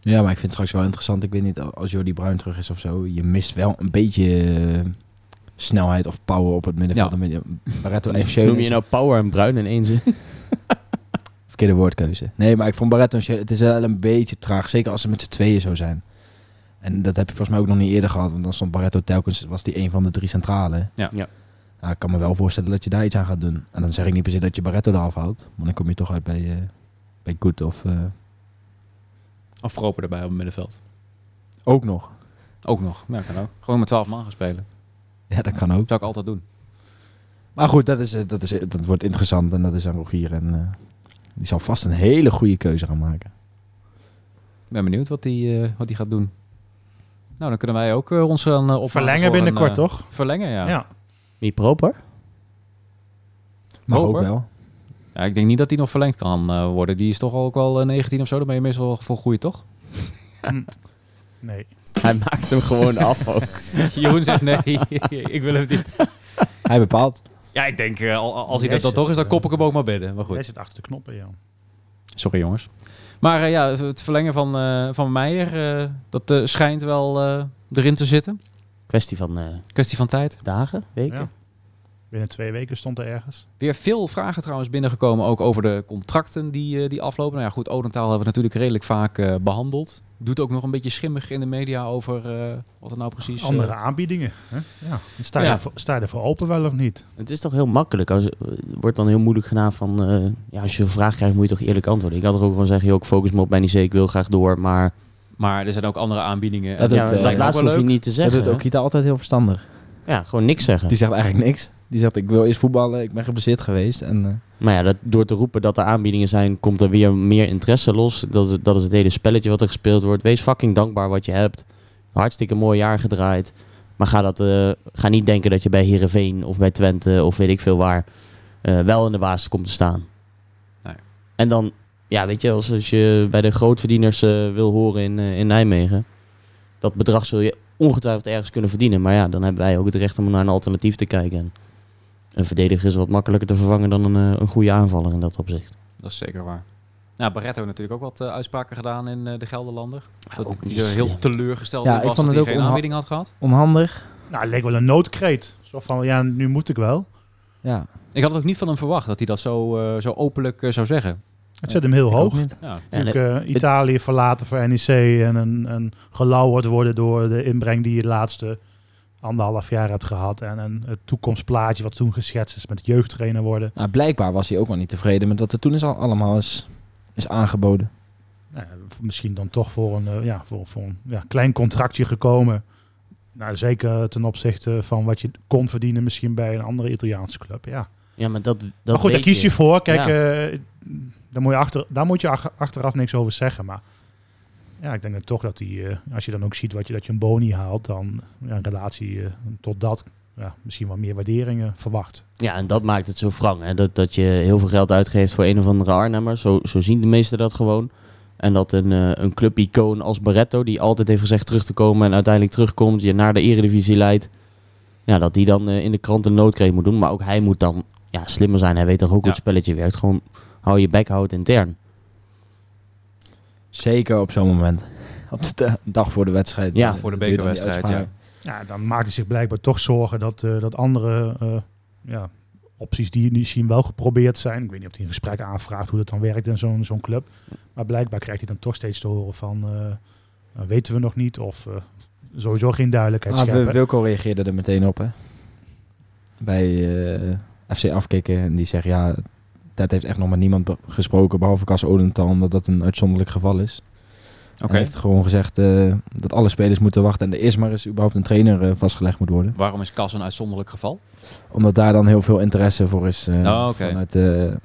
Speaker 4: ja, maar ik vind het straks wel interessant. Ik weet niet, als Jordi Bruin terug is of zo, je mist wel een beetje eh, snelheid of power op het middenveld.
Speaker 2: Ja.
Speaker 4: Dan ben je- Barretto en Schöne
Speaker 3: Noem je nou Power en Bruin in één zin?
Speaker 4: Verkeerde woordkeuze. Nee, maar ik vond Barretto en Schöne- Het is wel een beetje traag. Zeker als ze met z'n tweeën zo zijn. En dat heb je volgens mij ook nog niet eerder gehad. Want dan stond Barretto telkens... Was die een van de drie centrale.
Speaker 2: Ja.
Speaker 3: Ja.
Speaker 4: Nou, ik kan me wel voorstellen dat je daar iets aan gaat doen. En dan zeg ik niet per se dat je Barretto eraf houdt. Want dan kom je toch uit bij, eh bij Good of... eh,
Speaker 2: Of proper erbij op het middenveld.
Speaker 4: ook nog.
Speaker 2: Ook nog. Ja, kan ook. Gewoon met 12 man gaan spelen.
Speaker 4: Ja, dat kan ook.
Speaker 2: Zou ik altijd doen.
Speaker 4: Maar goed, dat, is, eh, dat, is, eh, dat wordt interessant. En dat is aan Rogier. En eh, die zal vast een hele goede keuze gaan maken.
Speaker 2: Ik ben benieuwd wat die, eh, wat die gaat doen. Nou, dan kunnen wij ook eh, ons gaan op
Speaker 6: Verlengen binnenkort, toch?
Speaker 2: Verlengen, eh, ja.
Speaker 6: Ja.
Speaker 2: ja.
Speaker 3: Wie proper?
Speaker 4: Mag
Speaker 2: Hoop,
Speaker 4: ook
Speaker 2: hè?
Speaker 4: wel.
Speaker 2: Ik denk niet dat die nog verlengd kan eh, worden. Die is toch ook wel eh, 19 of zo. Dan ben je meestal voor groei, toch?
Speaker 6: Nee.
Speaker 3: Hij maakt hem gewoon af ook.
Speaker 2: Jeroen zegt nee, ik wil hem niet.
Speaker 4: Hij bepaalt.
Speaker 2: Ja, ik denk, eh, al- als hij
Speaker 6: Jij
Speaker 2: dat dan
Speaker 6: zit,
Speaker 2: toch is, dan
Speaker 6: eh,
Speaker 2: kop ik hem ook maar binnen. Maar
Speaker 6: Hij
Speaker 2: goed,
Speaker 6: zit achter de knoppen, ja.
Speaker 2: sorry jongens. Maar eh, ja, het verlengen van, eh, van Meijer, eh, dat eh, schijnt wel eh, erin te zitten.
Speaker 3: Kwestie van eh,
Speaker 2: Kwestie van tijd.
Speaker 3: dagen, weken.
Speaker 6: Ja. Binnen twee weken stond er ergens.
Speaker 2: Weer veel vragen trouwens binnengekomen, ook over de contracten die, eh, die aflopen. Nou ja, goed, Odentaal hebben we natuurlijk redelijk vaak eh, behandeld. Doet ook nog een beetje schimmig in de media over eh, wat er nou precies... eh,
Speaker 6: Andere aanbiedingen. Hè? Ja. Dan Sta, je
Speaker 2: Ja.
Speaker 6: Voor, sta je er voor open wel of niet?
Speaker 3: Het is toch heel makkelijk. Als, eh, wordt dan heel moeilijk gedaan van... eh, ja, als je een vraag krijgt, moet je toch eerlijk antwoorden. Ik had er ook gewoon zeggen... Joh, ik focus me op mijn IC, ik wil graag door. Maar
Speaker 2: maar er zijn ook andere aanbiedingen.
Speaker 4: Dat
Speaker 2: En
Speaker 4: doet,
Speaker 3: ja,
Speaker 4: eh,
Speaker 3: dat
Speaker 4: lijkt me
Speaker 3: laatste
Speaker 2: wel
Speaker 3: hoef je
Speaker 2: leuk.
Speaker 3: niet te
Speaker 4: Dat
Speaker 3: zeggen.
Speaker 4: doet ook
Speaker 3: hè?
Speaker 4: Kita altijd heel verstandig.
Speaker 3: Ja, gewoon niks zeggen.
Speaker 4: Die zegt eigenlijk niks. Die zegt, ik wil eerst voetballen, ik ben geblesseerd geweest. En, eh,
Speaker 3: Maar ja, dat, door te roepen dat er aanbiedingen zijn... komt er weer meer interesse los. Dat is, dat is het hele spelletje wat er gespeeld wordt. Wees fucking dankbaar wat je hebt. Hartstikke mooi jaar gedraaid. Maar ga, dat, eh, ga niet denken dat je bij Heerenveen of bij Twente of weet ik veel waar eh, wel in de basis komt te staan.
Speaker 2: Nee.
Speaker 3: En dan, ja, weet je, als, als je bij de grootverdieners eh, wil horen in, eh, in Nijmegen, dat bedrag zul je ongetwijfeld ergens kunnen verdienen. Maar ja, dan hebben wij ook het recht om naar een alternatief te kijken. En een verdediger is wat makkelijker te vervangen dan een, eh, een goede aanvaller in dat opzicht.
Speaker 2: Dat is zeker waar. Nou, Barretto heeft natuurlijk ook wat eh, uitspraken gedaan in eh, de Gelderlander. dat
Speaker 3: ook
Speaker 2: hij
Speaker 3: niet
Speaker 2: er heel
Speaker 3: slim.
Speaker 2: teleurgesteld
Speaker 4: Ja,
Speaker 2: in was
Speaker 4: ik vond
Speaker 2: dat
Speaker 4: het
Speaker 2: hij
Speaker 4: ook
Speaker 2: geen
Speaker 4: onha-
Speaker 2: aanbieding had gehad.
Speaker 4: Onhandig.
Speaker 6: Nou, het leek wel een noodkreet. Zo van, ja, nu moet ik wel.
Speaker 4: Ja.
Speaker 2: Ik had het ook niet van hem verwacht dat hij dat zo, eh, zo openlijk eh, zou zeggen.
Speaker 6: Het zet hem heel
Speaker 4: Ook
Speaker 6: hoog.
Speaker 4: niet.
Speaker 2: Ja.
Speaker 6: Natuurlijk eh, Italië verlaten voor NEC en een, een gelauwerd worden door de inbreng die je de laatste anderhalf jaar hebt gehad. En, en het toekomstplaatje wat toen geschetst is met jeugdtrainer worden.
Speaker 4: Nou, blijkbaar was hij ook wel niet tevreden met wat er toen is al allemaal is, is aangeboden.
Speaker 6: Nou ja, misschien dan toch voor een, eh, ja, voor, voor een ja, klein contractje gekomen. Nou, zeker ten opzichte van wat je kon verdienen misschien bij een andere Italiaanse club. Ja.
Speaker 3: Ja, maar dat, dat
Speaker 6: maar goed, daar
Speaker 3: weet
Speaker 6: kies je voor. Kijk, eh, daar, moet je achter, daar moet je ach- achteraf niks over zeggen. Maar ja, ik denk dat toch dat die, eh, als je dan ook ziet wat je, dat je een boni haalt, dan ja, in relatie eh, tot dat ja, misschien wat meer waarderingen verwacht.
Speaker 3: Ja, en dat maakt het zo wrang. Hè? Dat, dat je heel veel geld uitgeeft voor een of andere Arnhemmer. Zo, zo zien de meesten dat gewoon. En dat een, eh een clubicoon als Barretto, die altijd heeft gezegd terug te komen en uiteindelijk terugkomt, je naar de eredivisie leidt. Ja, dat die dan eh, in de krant een noodkreet moet doen. Maar ook hij moet dan ja, slimmer zijn. Hij weet toch ook hoe het spelletje werkt. Gewoon hou je bek, hou het intern.
Speaker 4: Zeker op zo'n moment. Op de da- dag voor de wedstrijd.
Speaker 3: Ja,
Speaker 4: Eh,
Speaker 2: voor de
Speaker 4: duurde die
Speaker 2: bekerwedstrijd,
Speaker 4: uitspraak.
Speaker 2: ja.
Speaker 6: Ja, dan maakt hij zich blijkbaar toch zorgen dat, eh, dat andere eh, ja, opties die nu zien wel geprobeerd zijn. Ik weet niet of hij een gesprek aanvraagt hoe dat dan werkt in zo'n zo'n club. Maar blijkbaar krijgt hij dan toch steeds te horen van eh, nou, weten we nog niet of eh, sowieso geen duidelijkheid
Speaker 4: Ah,
Speaker 6: scheppen.
Speaker 4: Wil- Wilco reageerde er meteen op, hè? Bij eh, FC Afkikken. En die zegt, ja, dat heeft echt nog met niemand be- gesproken, behalve Cas Odental, omdat dat een uitzonderlijk geval is.
Speaker 2: Oké.
Speaker 4: Hij heeft gewoon gezegd eh, dat alle spelers moeten wachten en er eerst maar eens überhaupt een trainer eh, vastgelegd moet worden.
Speaker 2: Waarom is Cas een uitzonderlijk geval?
Speaker 4: Omdat daar dan heel veel interesse voor is. eh,
Speaker 2: Oh, oké.
Speaker 4: vanuit, eh,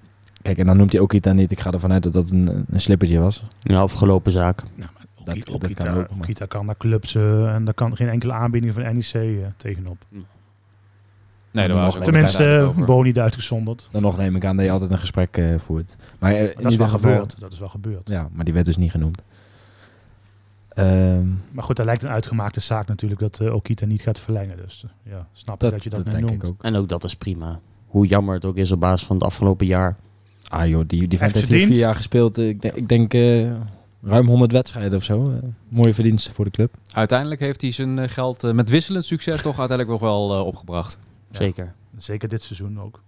Speaker 4: kijk, en dan noemt hij ook Kita niet. Ik ga ervan uit dat dat een, een slippertje was.
Speaker 3: Een afgelopen zaak.
Speaker 6: Ook
Speaker 4: Dat-
Speaker 6: Kita-
Speaker 4: dat
Speaker 6: ook
Speaker 4: kan
Speaker 6: Kita-
Speaker 4: ook, maar-
Speaker 6: ook Kita kan naar clubs eh, en daar kan geen enkele aanbieding van NEC eh, tegenop.
Speaker 2: Nee, daar
Speaker 4: Nog
Speaker 2: was ook
Speaker 6: Tenminste,
Speaker 2: geen
Speaker 6: eh,
Speaker 2: duidelijk over.
Speaker 6: Boni niet uitgezonderd.
Speaker 4: Dan nog neem ik aan dat je altijd een gesprek eh, voert. Maar, eh, in
Speaker 6: Maar dat is
Speaker 4: ieder
Speaker 6: wel
Speaker 4: geval-
Speaker 6: gebeurd. Dat is wel gebeurd.
Speaker 4: Ja, maar die werd dus niet genoemd. Ehm,
Speaker 6: Maar goed, dat lijkt een uitgemaakte zaak natuurlijk dat eh, Okita niet gaat verlengen. Dus eh, ja, snap ik
Speaker 4: dat,
Speaker 6: dat, je dat,
Speaker 4: dat
Speaker 6: nu
Speaker 4: denk
Speaker 6: noemt.
Speaker 4: ik ook.
Speaker 3: En ook dat is prima. Hoe jammer het ook is op basis van het afgelopen jaar.
Speaker 4: Ah joh, die, die vent
Speaker 6: Heeft
Speaker 4: heeft hier vier
Speaker 6: verdiend.
Speaker 4: jaar gespeeld. eh, Ik, denk- ik denk eh, ruim 100 wedstrijden of zo. Eh, mooie verdiensten voor de club.
Speaker 2: Uiteindelijk heeft hij zijn eh, geld eh, met wisselend succes toch uiteindelijk nog wel eh, opgebracht.
Speaker 3: Zeker.
Speaker 6: Zeker dit seizoen ook.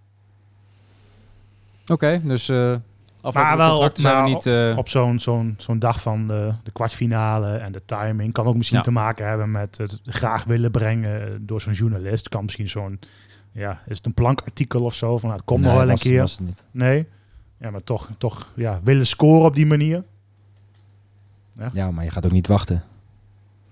Speaker 2: Oké, dus eh
Speaker 6: Maar
Speaker 2: afgelopen
Speaker 6: wel
Speaker 2: contracten
Speaker 6: op-
Speaker 2: zijn we
Speaker 6: maar
Speaker 2: niet... eh,
Speaker 6: Op zo'n zo'n zo'n dag van de, de kwartfinale en de timing kan ook misschien
Speaker 2: Ja.
Speaker 6: te maken hebben met het graag willen brengen eh, door zo'n journalist. Kan misschien zo'n, ja, is het een plankartikel of zo? Van nou, het komt nog
Speaker 4: Nee,
Speaker 6: wel een
Speaker 4: was-
Speaker 6: keer.
Speaker 4: was het niet.
Speaker 6: Nee. Ja, maar toch, toch ja, willen scoren op die manier.
Speaker 4: Ja, maar je gaat ook niet wachten.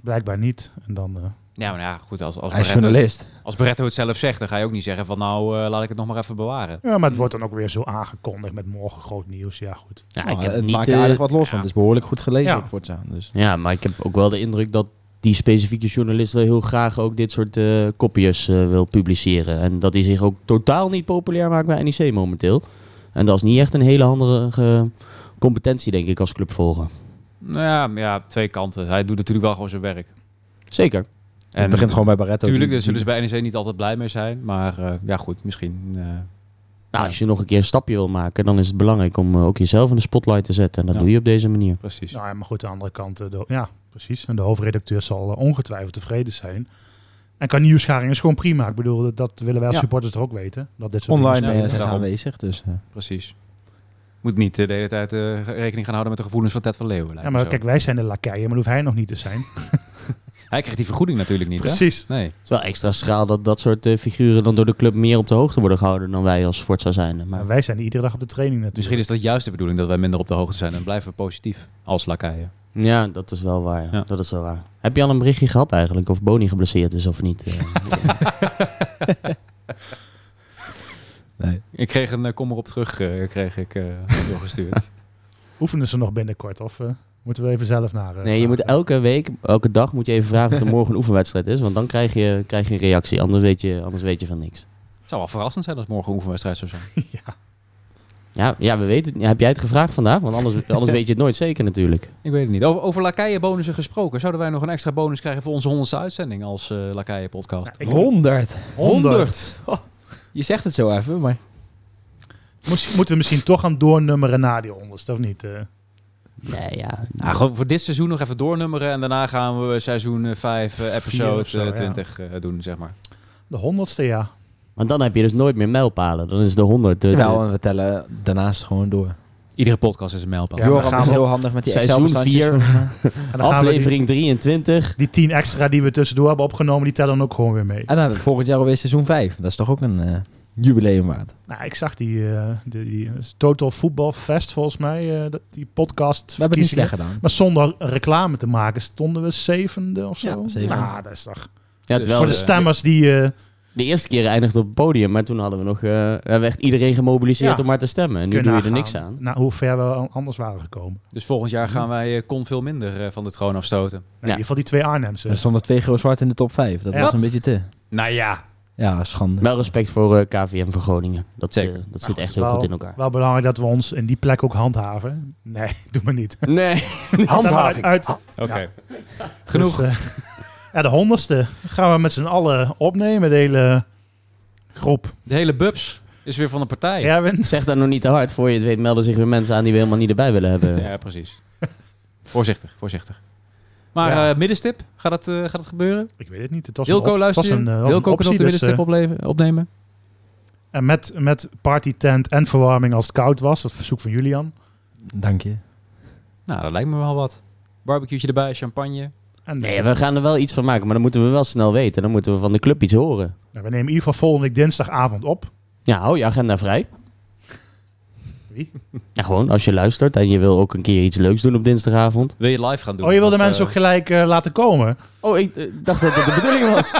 Speaker 6: Blijkbaar niet. En dan, eh,
Speaker 2: Ja, maar ja, goed, als, als,
Speaker 4: Hij is
Speaker 2: Barretto,
Speaker 4: journalist.
Speaker 2: als Barretto het zelf zegt, dan ga je ook niet zeggen van nou, eh, laat ik het nog maar even bewaren.
Speaker 6: ja, maar het wordt dan ook weer zo aangekondigd met morgen groot nieuws. Ja, goed.
Speaker 3: Ja,
Speaker 4: Nou,
Speaker 3: ik heb
Speaker 4: het
Speaker 3: niet,
Speaker 4: maakt
Speaker 3: eh,
Speaker 4: aardig wat los, want het is behoorlijk goed gelezen
Speaker 6: Ja.
Speaker 4: ook voortaan. Dus.
Speaker 3: Ja, maar ik heb ook wel de indruk dat die specifieke journalist wel heel graag ook dit soort eh kopieërs eh, wil publiceren. En dat hij zich ook totaal niet populair maakt bij NEC momenteel. En dat is niet echt een hele handige competentie, denk ik, als club volgen.
Speaker 2: Nou ja, maar ja, twee kanten. Hij doet natuurlijk wel gewoon zijn werk.
Speaker 3: Zeker.
Speaker 4: het begint gewoon bij Barretto.
Speaker 2: Tuurlijk,
Speaker 4: Die-
Speaker 2: daar zullen ze bij NEC niet altijd blij mee zijn. Maar eh, ja, goed, misschien. eh,
Speaker 3: Nou, als je nog een keer een stapje wil maken, dan is het belangrijk om eh, ook jezelf in de spotlight te zetten. En dat
Speaker 2: Ja.
Speaker 3: doe je op deze manier.
Speaker 2: precies.
Speaker 6: Nou, ja, maar goed, aan de andere kant, eh, de, ja, precies. En de hoofdredacteur zal eh, ongetwijfeld tevreden zijn. En qua nieuwsgaring is gewoon prima. Ik bedoel, dat- dat willen wij als
Speaker 4: Ja.
Speaker 6: supporters er ook weten. Dat dit soort
Speaker 4: Online
Speaker 6: dingen
Speaker 4: eh,
Speaker 2: Ja,
Speaker 4: zijn ze
Speaker 2: daarom.
Speaker 4: aanwezig. Dus, eh.
Speaker 2: precies. Moet niet eh, de hele tijd eh, rekening gaan houden met de gevoelens van Ted van Leeuwen. lijkt
Speaker 6: Ja,
Speaker 2: me
Speaker 6: maar
Speaker 2: zo.
Speaker 6: kijk, wij zijn de lakeien, maar dat hoeft hij nog niet te zijn.
Speaker 2: Hij krijgt die vergoeding natuurlijk niet. hè?
Speaker 6: Precies.
Speaker 2: Nee.
Speaker 3: Het is wel extra schaal dat dat soort eh, figuren dan door de club meer op de hoogte worden gehouden dan wij als Forza zijn. Maar
Speaker 6: Maar wij zijn iedere dag op de training natuurlijk.
Speaker 2: Misschien is dat juist de bedoeling dat wij minder op de hoogte zijn. En blijven we positief als lakaien.
Speaker 3: ja, dat is wel waar.
Speaker 2: Ja.
Speaker 3: Dat is wel waar. Heb je al een berichtje gehad eigenlijk? Of Boni geblesseerd is of niet? eh?
Speaker 2: Ik kreeg een eh, kom erop terug eh, kreeg ik, eh, doorgestuurd.
Speaker 6: Oefenen ze nog binnenkort? Of, eh, Moeten we even zelf naar. eh,
Speaker 3: Nee, je moet e-
Speaker 6: vragen.
Speaker 3: elke week, elke dag moet je even vragen of er morgen een oefenwedstrijd is. Want dan krijg je, krijg je een reactie. Anders weet je, anders weet je van niks.
Speaker 2: Het zou wel verrassend zijn als morgen een oefenwedstrijd zou zijn.
Speaker 3: Ja, ja we weten het niet. Heb jij het gevraagd vandaag? Want anders, anders weet je het nooit zeker natuurlijk.
Speaker 2: Ik weet het niet. Over, over lakaienbonussen gesproken. Zouden wij nog een extra bonus krijgen voor onze honderdste uitzending als eh lakaienpodcast?
Speaker 6: Ik-
Speaker 4: 100.
Speaker 6: 100.
Speaker 4: Oh, Je zegt het zo even, maar...
Speaker 6: Moest- moeten we misschien toch gaan doornummeren na die onderste, of niet? eh?
Speaker 3: Nee, ja.
Speaker 2: Nou, gewoon voor dit seizoen nog even doornummeren. En daarna gaan we seizoen 5,
Speaker 6: Vier
Speaker 2: episode
Speaker 6: of zo,
Speaker 2: eh,
Speaker 6: ja.
Speaker 2: 20 eh, doen, zeg maar.
Speaker 6: de honderdste, ja.
Speaker 3: Maar dan heb je dus nooit meer mijlpalen. Dan is de 100. de- de-
Speaker 4: Wel, en we tellen daarnaast gewoon door.
Speaker 2: Iedere podcast is een mijlpaal.
Speaker 6: Ja, we
Speaker 4: Joram
Speaker 6: gaan
Speaker 4: is
Speaker 6: wel-
Speaker 4: heel handig met die
Speaker 3: Seizoen
Speaker 4: Excel-bestandjes.
Speaker 6: En dan gaan we die,
Speaker 3: aflevering 23.
Speaker 6: die tien extra die we tussendoor hebben opgenomen, die tellen ook gewoon weer mee.
Speaker 4: En dan hebben we Ah, nou, volgend jaar alweer seizoen 5. Dat is toch ook een eh, jubileum waard.
Speaker 6: Nou, ik zag die, eh, die, die het is Total Football Fest volgens mij, eh, dat- die podcast.
Speaker 4: We hebben het niet
Speaker 6: verkiezingen.
Speaker 4: slecht gedaan.
Speaker 6: Maar zonder reclame te maken stonden we zevende of zo.
Speaker 4: Ja, zevende.
Speaker 6: Nou, dat is toch...
Speaker 3: Ja,
Speaker 2: Dus
Speaker 3: terwijl
Speaker 6: voor de
Speaker 3: de,
Speaker 6: stemmers die... eh,
Speaker 3: de eerste keer eindigde op het podium. Maar toen hadden we nog eh, we hebben echt iedereen gemobiliseerd
Speaker 6: Ja.
Speaker 3: om maar te stemmen. En nu
Speaker 6: kunnen
Speaker 3: doe je er
Speaker 6: nagaan
Speaker 3: niks aan.
Speaker 6: Nou, hoe ver we al- anders waren gekomen. Nou,
Speaker 2: Dus volgend jaar gaan wij eh, kon veel minder eh, van de troon afstoten.
Speaker 6: In ieder geval die twee Arnhemse.
Speaker 4: Er stonden twee groot zwart in de top 5. Dat
Speaker 6: Ja.
Speaker 4: was een
Speaker 6: Wat?
Speaker 4: beetje te.
Speaker 2: Nou ja.
Speaker 4: Ja, schande.
Speaker 3: Wel respect voor eh, KVM voor Groningen. Dat,
Speaker 2: Zeker.
Speaker 3: eh, dat
Speaker 6: Nou,
Speaker 3: zit echt heel
Speaker 6: wel-
Speaker 3: goed in elkaar.
Speaker 6: Wel belangrijk dat we ons in die plek ook handhaven. Nee, doe maar niet.
Speaker 3: Nee.
Speaker 6: Handhaving.
Speaker 5: Handhaving.
Speaker 6: Uit,
Speaker 2: Oké. Genoeg.
Speaker 6: Dus, eh, ja, de honderdste gaan we met z'n allen opnemen, de hele groep.
Speaker 2: De hele Bubs is weer van de partij.
Speaker 6: Erwin,
Speaker 3: Zeg dat nog niet te hard. Voor je het weet melden zich weer mensen aan die we helemaal niet erbij willen hebben.
Speaker 2: Ja, precies. voorzichtig, voorzichtig. Maar
Speaker 6: Ja.
Speaker 2: eh, middenstip, gaat dat, eh, gaat dat gebeuren?
Speaker 6: ik weet het niet. Het was een
Speaker 2: Wilco,
Speaker 6: op- het was
Speaker 2: luister je?
Speaker 6: een, eh, was een
Speaker 2: Wilco kan op
Speaker 6: optie,
Speaker 2: de
Speaker 6: dus,
Speaker 2: middenstip
Speaker 6: eh,
Speaker 2: opleven, opnemen.
Speaker 6: En met, met party tent en verwarming als het koud was. Dat verzoek van Julian.
Speaker 4: Dank je.
Speaker 2: Nou, dat lijkt me wel wat. Barbecueetje erbij, champagne.
Speaker 6: En, eh,
Speaker 3: Nee, we gaan er wel iets van maken, maar dan moeten we wel snel weten. Dan moeten we van de club iets horen.
Speaker 6: nou, we nemen in ieder geval volgende week dinsdagavond op.
Speaker 3: Ja, hou je agenda vrij.
Speaker 6: Wie?
Speaker 3: Ja, gewoon als je luistert en je wil ook een keer iets leuks doen op dinsdagavond.
Speaker 2: Wil je live gaan doen?
Speaker 6: Oh, je wilde
Speaker 2: Of, eh, Dus-
Speaker 6: mensen ook gelijk eh, laten komen?
Speaker 3: Oh, ik eh, dacht dat dat de bedoeling was.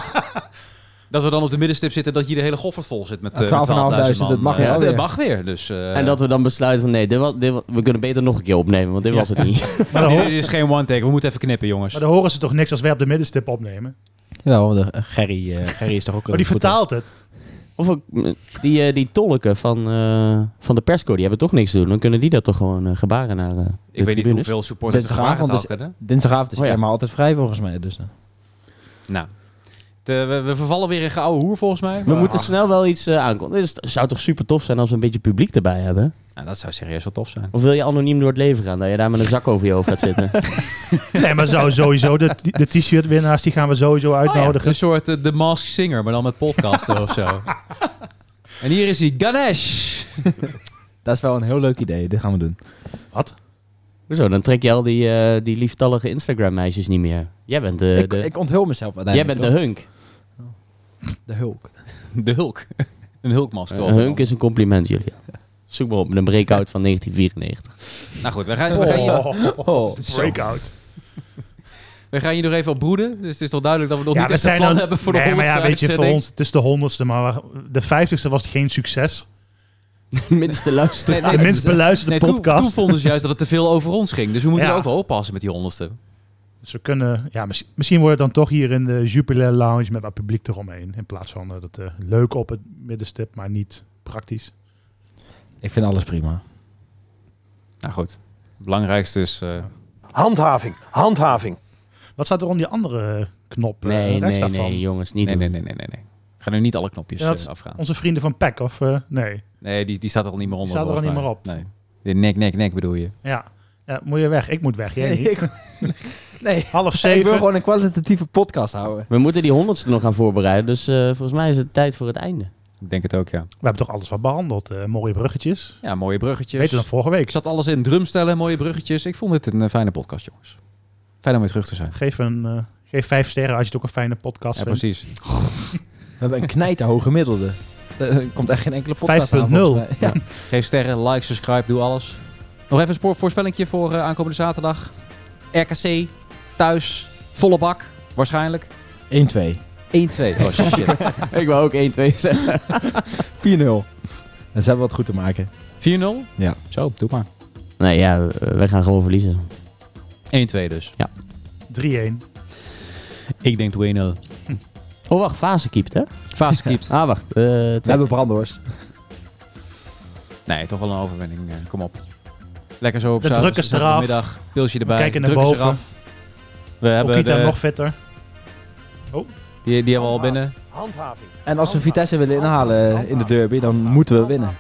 Speaker 2: Dat we dan op de middenstip zitten, dat hier de hele Goffert vol zit met
Speaker 4: Ja,
Speaker 2: eh, met
Speaker 4: 12.500
Speaker 2: man.
Speaker 4: dat mag
Speaker 2: Eh,
Speaker 4: weer
Speaker 2: dat-
Speaker 4: alweer.
Speaker 2: dat mag weer. Dus, eh,
Speaker 3: En dat we dan besluiten van nee, dit was, dit wa- we kunnen beter nog een keer opnemen, want dit was het niet.
Speaker 6: Maar dan,
Speaker 2: Nee,
Speaker 6: ho-
Speaker 2: dit is geen one take. We moeten even knippen, jongens.
Speaker 6: maar dan horen ze toch niks als wij op de middenstip opnemen?
Speaker 4: Jawel, de, eh, Gerry, eh, Gerry is toch ook
Speaker 6: Oh, die
Speaker 4: goed
Speaker 6: vertaalt het.
Speaker 3: Of ook eh, die, eh, die tolken van, eh, van de persco, die hebben toch niks te doen. Dan kunnen die dat toch gewoon eh, gebaren naar eh, de
Speaker 2: ik weet niet
Speaker 3: tribunes.
Speaker 2: hoeveel supporters er
Speaker 4: Dinsdagavond
Speaker 2: waren
Speaker 3: dus-
Speaker 4: is-
Speaker 2: hadden.
Speaker 4: in. Dinsdagavond is
Speaker 3: Oh, ja.
Speaker 4: maar altijd vrij volgens mij. Dus, eh.
Speaker 2: Nou, het, eh, we, we vervallen weer in gouden hoer, volgens mij.
Speaker 3: We moeten snel wel iets eh, aankondigen. Dus het zou toch super tof zijn als we een beetje publiek erbij hebben?
Speaker 2: Nou, dat zou serieus wel tof zijn.
Speaker 3: Of wil je anoniem door het leven gaan, dat je daar met een zak over je hoofd gaat zitten?
Speaker 6: Nee, maar zo, sowieso. De, t- de t-shirt winnaars die gaan we
Speaker 2: Oh
Speaker 6: sowieso uitnodigen.
Speaker 2: Een soort eh, The Mask Singer, maar dan met podcasten of zo. En hier is hij, Ganesh.
Speaker 4: Dat is wel een heel leuk idee. Dit gaan we doen.
Speaker 3: Hoezo? Dan trek je al die, eh, die lieftallige Instagram-meisjes niet meer. Jij bent de,
Speaker 4: ik,
Speaker 3: de-
Speaker 4: ik onthul mezelf
Speaker 3: jij bent
Speaker 4: uiteindelijk.
Speaker 3: de hunk. Eh,
Speaker 4: de, de hulk.
Speaker 2: De Hulk. Een hulkmasker.
Speaker 3: Een hunk is een compliment, Julia. Zoek maar op met een breakout van 1994.
Speaker 2: Nou goed, we gaan, we gaan, hier,
Speaker 4: Oh.
Speaker 6: breakout.
Speaker 2: we gaan hier nog even op broeden. Dus het is toch duidelijk dat we nog niet echt een plan
Speaker 6: dan-
Speaker 2: hebben voor de
Speaker 6: nee, maar ja,
Speaker 2: honderdste
Speaker 6: weet je, voor
Speaker 2: uitzending.
Speaker 6: ons, het is de honderdste, maar de vijftigste was geen succes.
Speaker 3: Minste luisteren.
Speaker 2: Nee,
Speaker 6: De
Speaker 2: Ah, nee, dus
Speaker 6: minst beluisterde
Speaker 2: nee, toen,
Speaker 6: podcast.
Speaker 2: toen vonden ze juist dat het te veel over ons ging. Dus we moeten
Speaker 6: Ja.
Speaker 2: er ook wel oppassen met die honderdste.
Speaker 6: Dus we kunnen, ja, misschien, misschien wordt het dan toch hier in de Jupiler Lounge met wat publiek eromheen. In plaats van eh, dat eh, leuk op het middenstip, maar niet praktisch.
Speaker 4: Ik vind alles prima.
Speaker 2: Nou goed, het belangrijkste is... eh,
Speaker 5: Handhaving. Handhaving.
Speaker 6: Wat staat er om die andere eh, knop eh,
Speaker 3: Nee,
Speaker 6: rechts
Speaker 3: nee, nee,
Speaker 6: daarvan?
Speaker 3: jongens, niet
Speaker 2: nee,
Speaker 3: doen.
Speaker 2: nee, nee, nee, nee, nee. Ga nu niet alle knopjes
Speaker 6: Ja, dat is
Speaker 2: eh, afgaan.
Speaker 6: Onze vrienden van PEC, of eh, nee?
Speaker 2: Nee, die, die staat er al niet meer onder.
Speaker 6: staat er al
Speaker 2: volgens
Speaker 6: niet
Speaker 2: mij.
Speaker 6: meer op.
Speaker 2: Nee. De nek, nek, nek bedoel je.
Speaker 6: Ja. Ja, moet je weg? Ik moet weg, jij niet.
Speaker 4: nee.
Speaker 6: Half
Speaker 4: Ik wil
Speaker 6: zeven.
Speaker 4: gewoon een kwalitatieve podcast houden.
Speaker 3: We moeten die honderdste nog gaan voorbereiden, dus eh, volgens mij is het tijd voor het einde.
Speaker 2: Ik denk het ook, ja.
Speaker 6: We hebben toch alles wat behandeld. eh, mooie bruggetjes.
Speaker 2: Ja, mooie bruggetjes.
Speaker 6: Beter dan vorige
Speaker 2: Ik
Speaker 6: week.
Speaker 2: zat alles in drumstellen, mooie bruggetjes. Ik vond dit een eh, fijne podcast, jongens. Fijn om weer terug te zijn.
Speaker 6: Geef, een, eh, geef vijf sterren als je het ook een fijne podcast
Speaker 2: Ja,
Speaker 6: vindt.
Speaker 2: precies.
Speaker 4: We hebben een knijterhoog gemiddelde. Er komt echt geen enkele podcast aan
Speaker 6: 5.0.
Speaker 4: volgens mij. Ja.
Speaker 2: Geef sterren, like, subscribe, doe alles. Nog even een spoor- voorspellingje voor eh, aankomende zaterdag. RKC, thuis, volle bak, waarschijnlijk.
Speaker 4: 1-2.
Speaker 2: 1-2. Oh shit. 4-0.
Speaker 3: Ik wil ook 1, 2
Speaker 4: 4-0.
Speaker 3: zeggen.
Speaker 4: Dat hebben we wat goed te maken.
Speaker 2: Ja. Zo, doe maar.
Speaker 3: Nou ja, eh, wij gaan gewoon verliezen.
Speaker 2: 1-2 dus.
Speaker 6: 3-1.
Speaker 2: Ik denk 2-0.
Speaker 3: Oh, wacht. Fase keept, hè?
Speaker 2: Fase keept.
Speaker 3: Ah, wacht. eh,
Speaker 4: We hebben Brandhorst.
Speaker 2: Nee, toch wel een overwinning. eh, Kom op. Lekker zo op
Speaker 6: De
Speaker 2: zaterdag-
Speaker 6: druk is
Speaker 2: zaterdag-
Speaker 6: eraf.
Speaker 2: middag. Pilsje erbij.
Speaker 6: kijken
Speaker 2: de
Speaker 6: naar
Speaker 2: druk is
Speaker 6: boven.
Speaker 2: eraf. We hebben
Speaker 6: Okita
Speaker 2: de-
Speaker 6: eh, nog Ah. vetter.
Speaker 2: die, die hebben we al binnen.
Speaker 5: Handhaving.
Speaker 4: En als we Vitesse willen inhalen in de derby, dan moeten we winnen.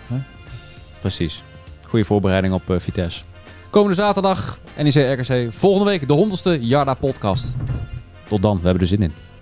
Speaker 2: Precies. Goede voorbereiding op eh, Vitesse. Komende E zaterdag, NEC RKC. Volgende week de 100ste Jarda podcast. Tot dan, we hebben er zin in.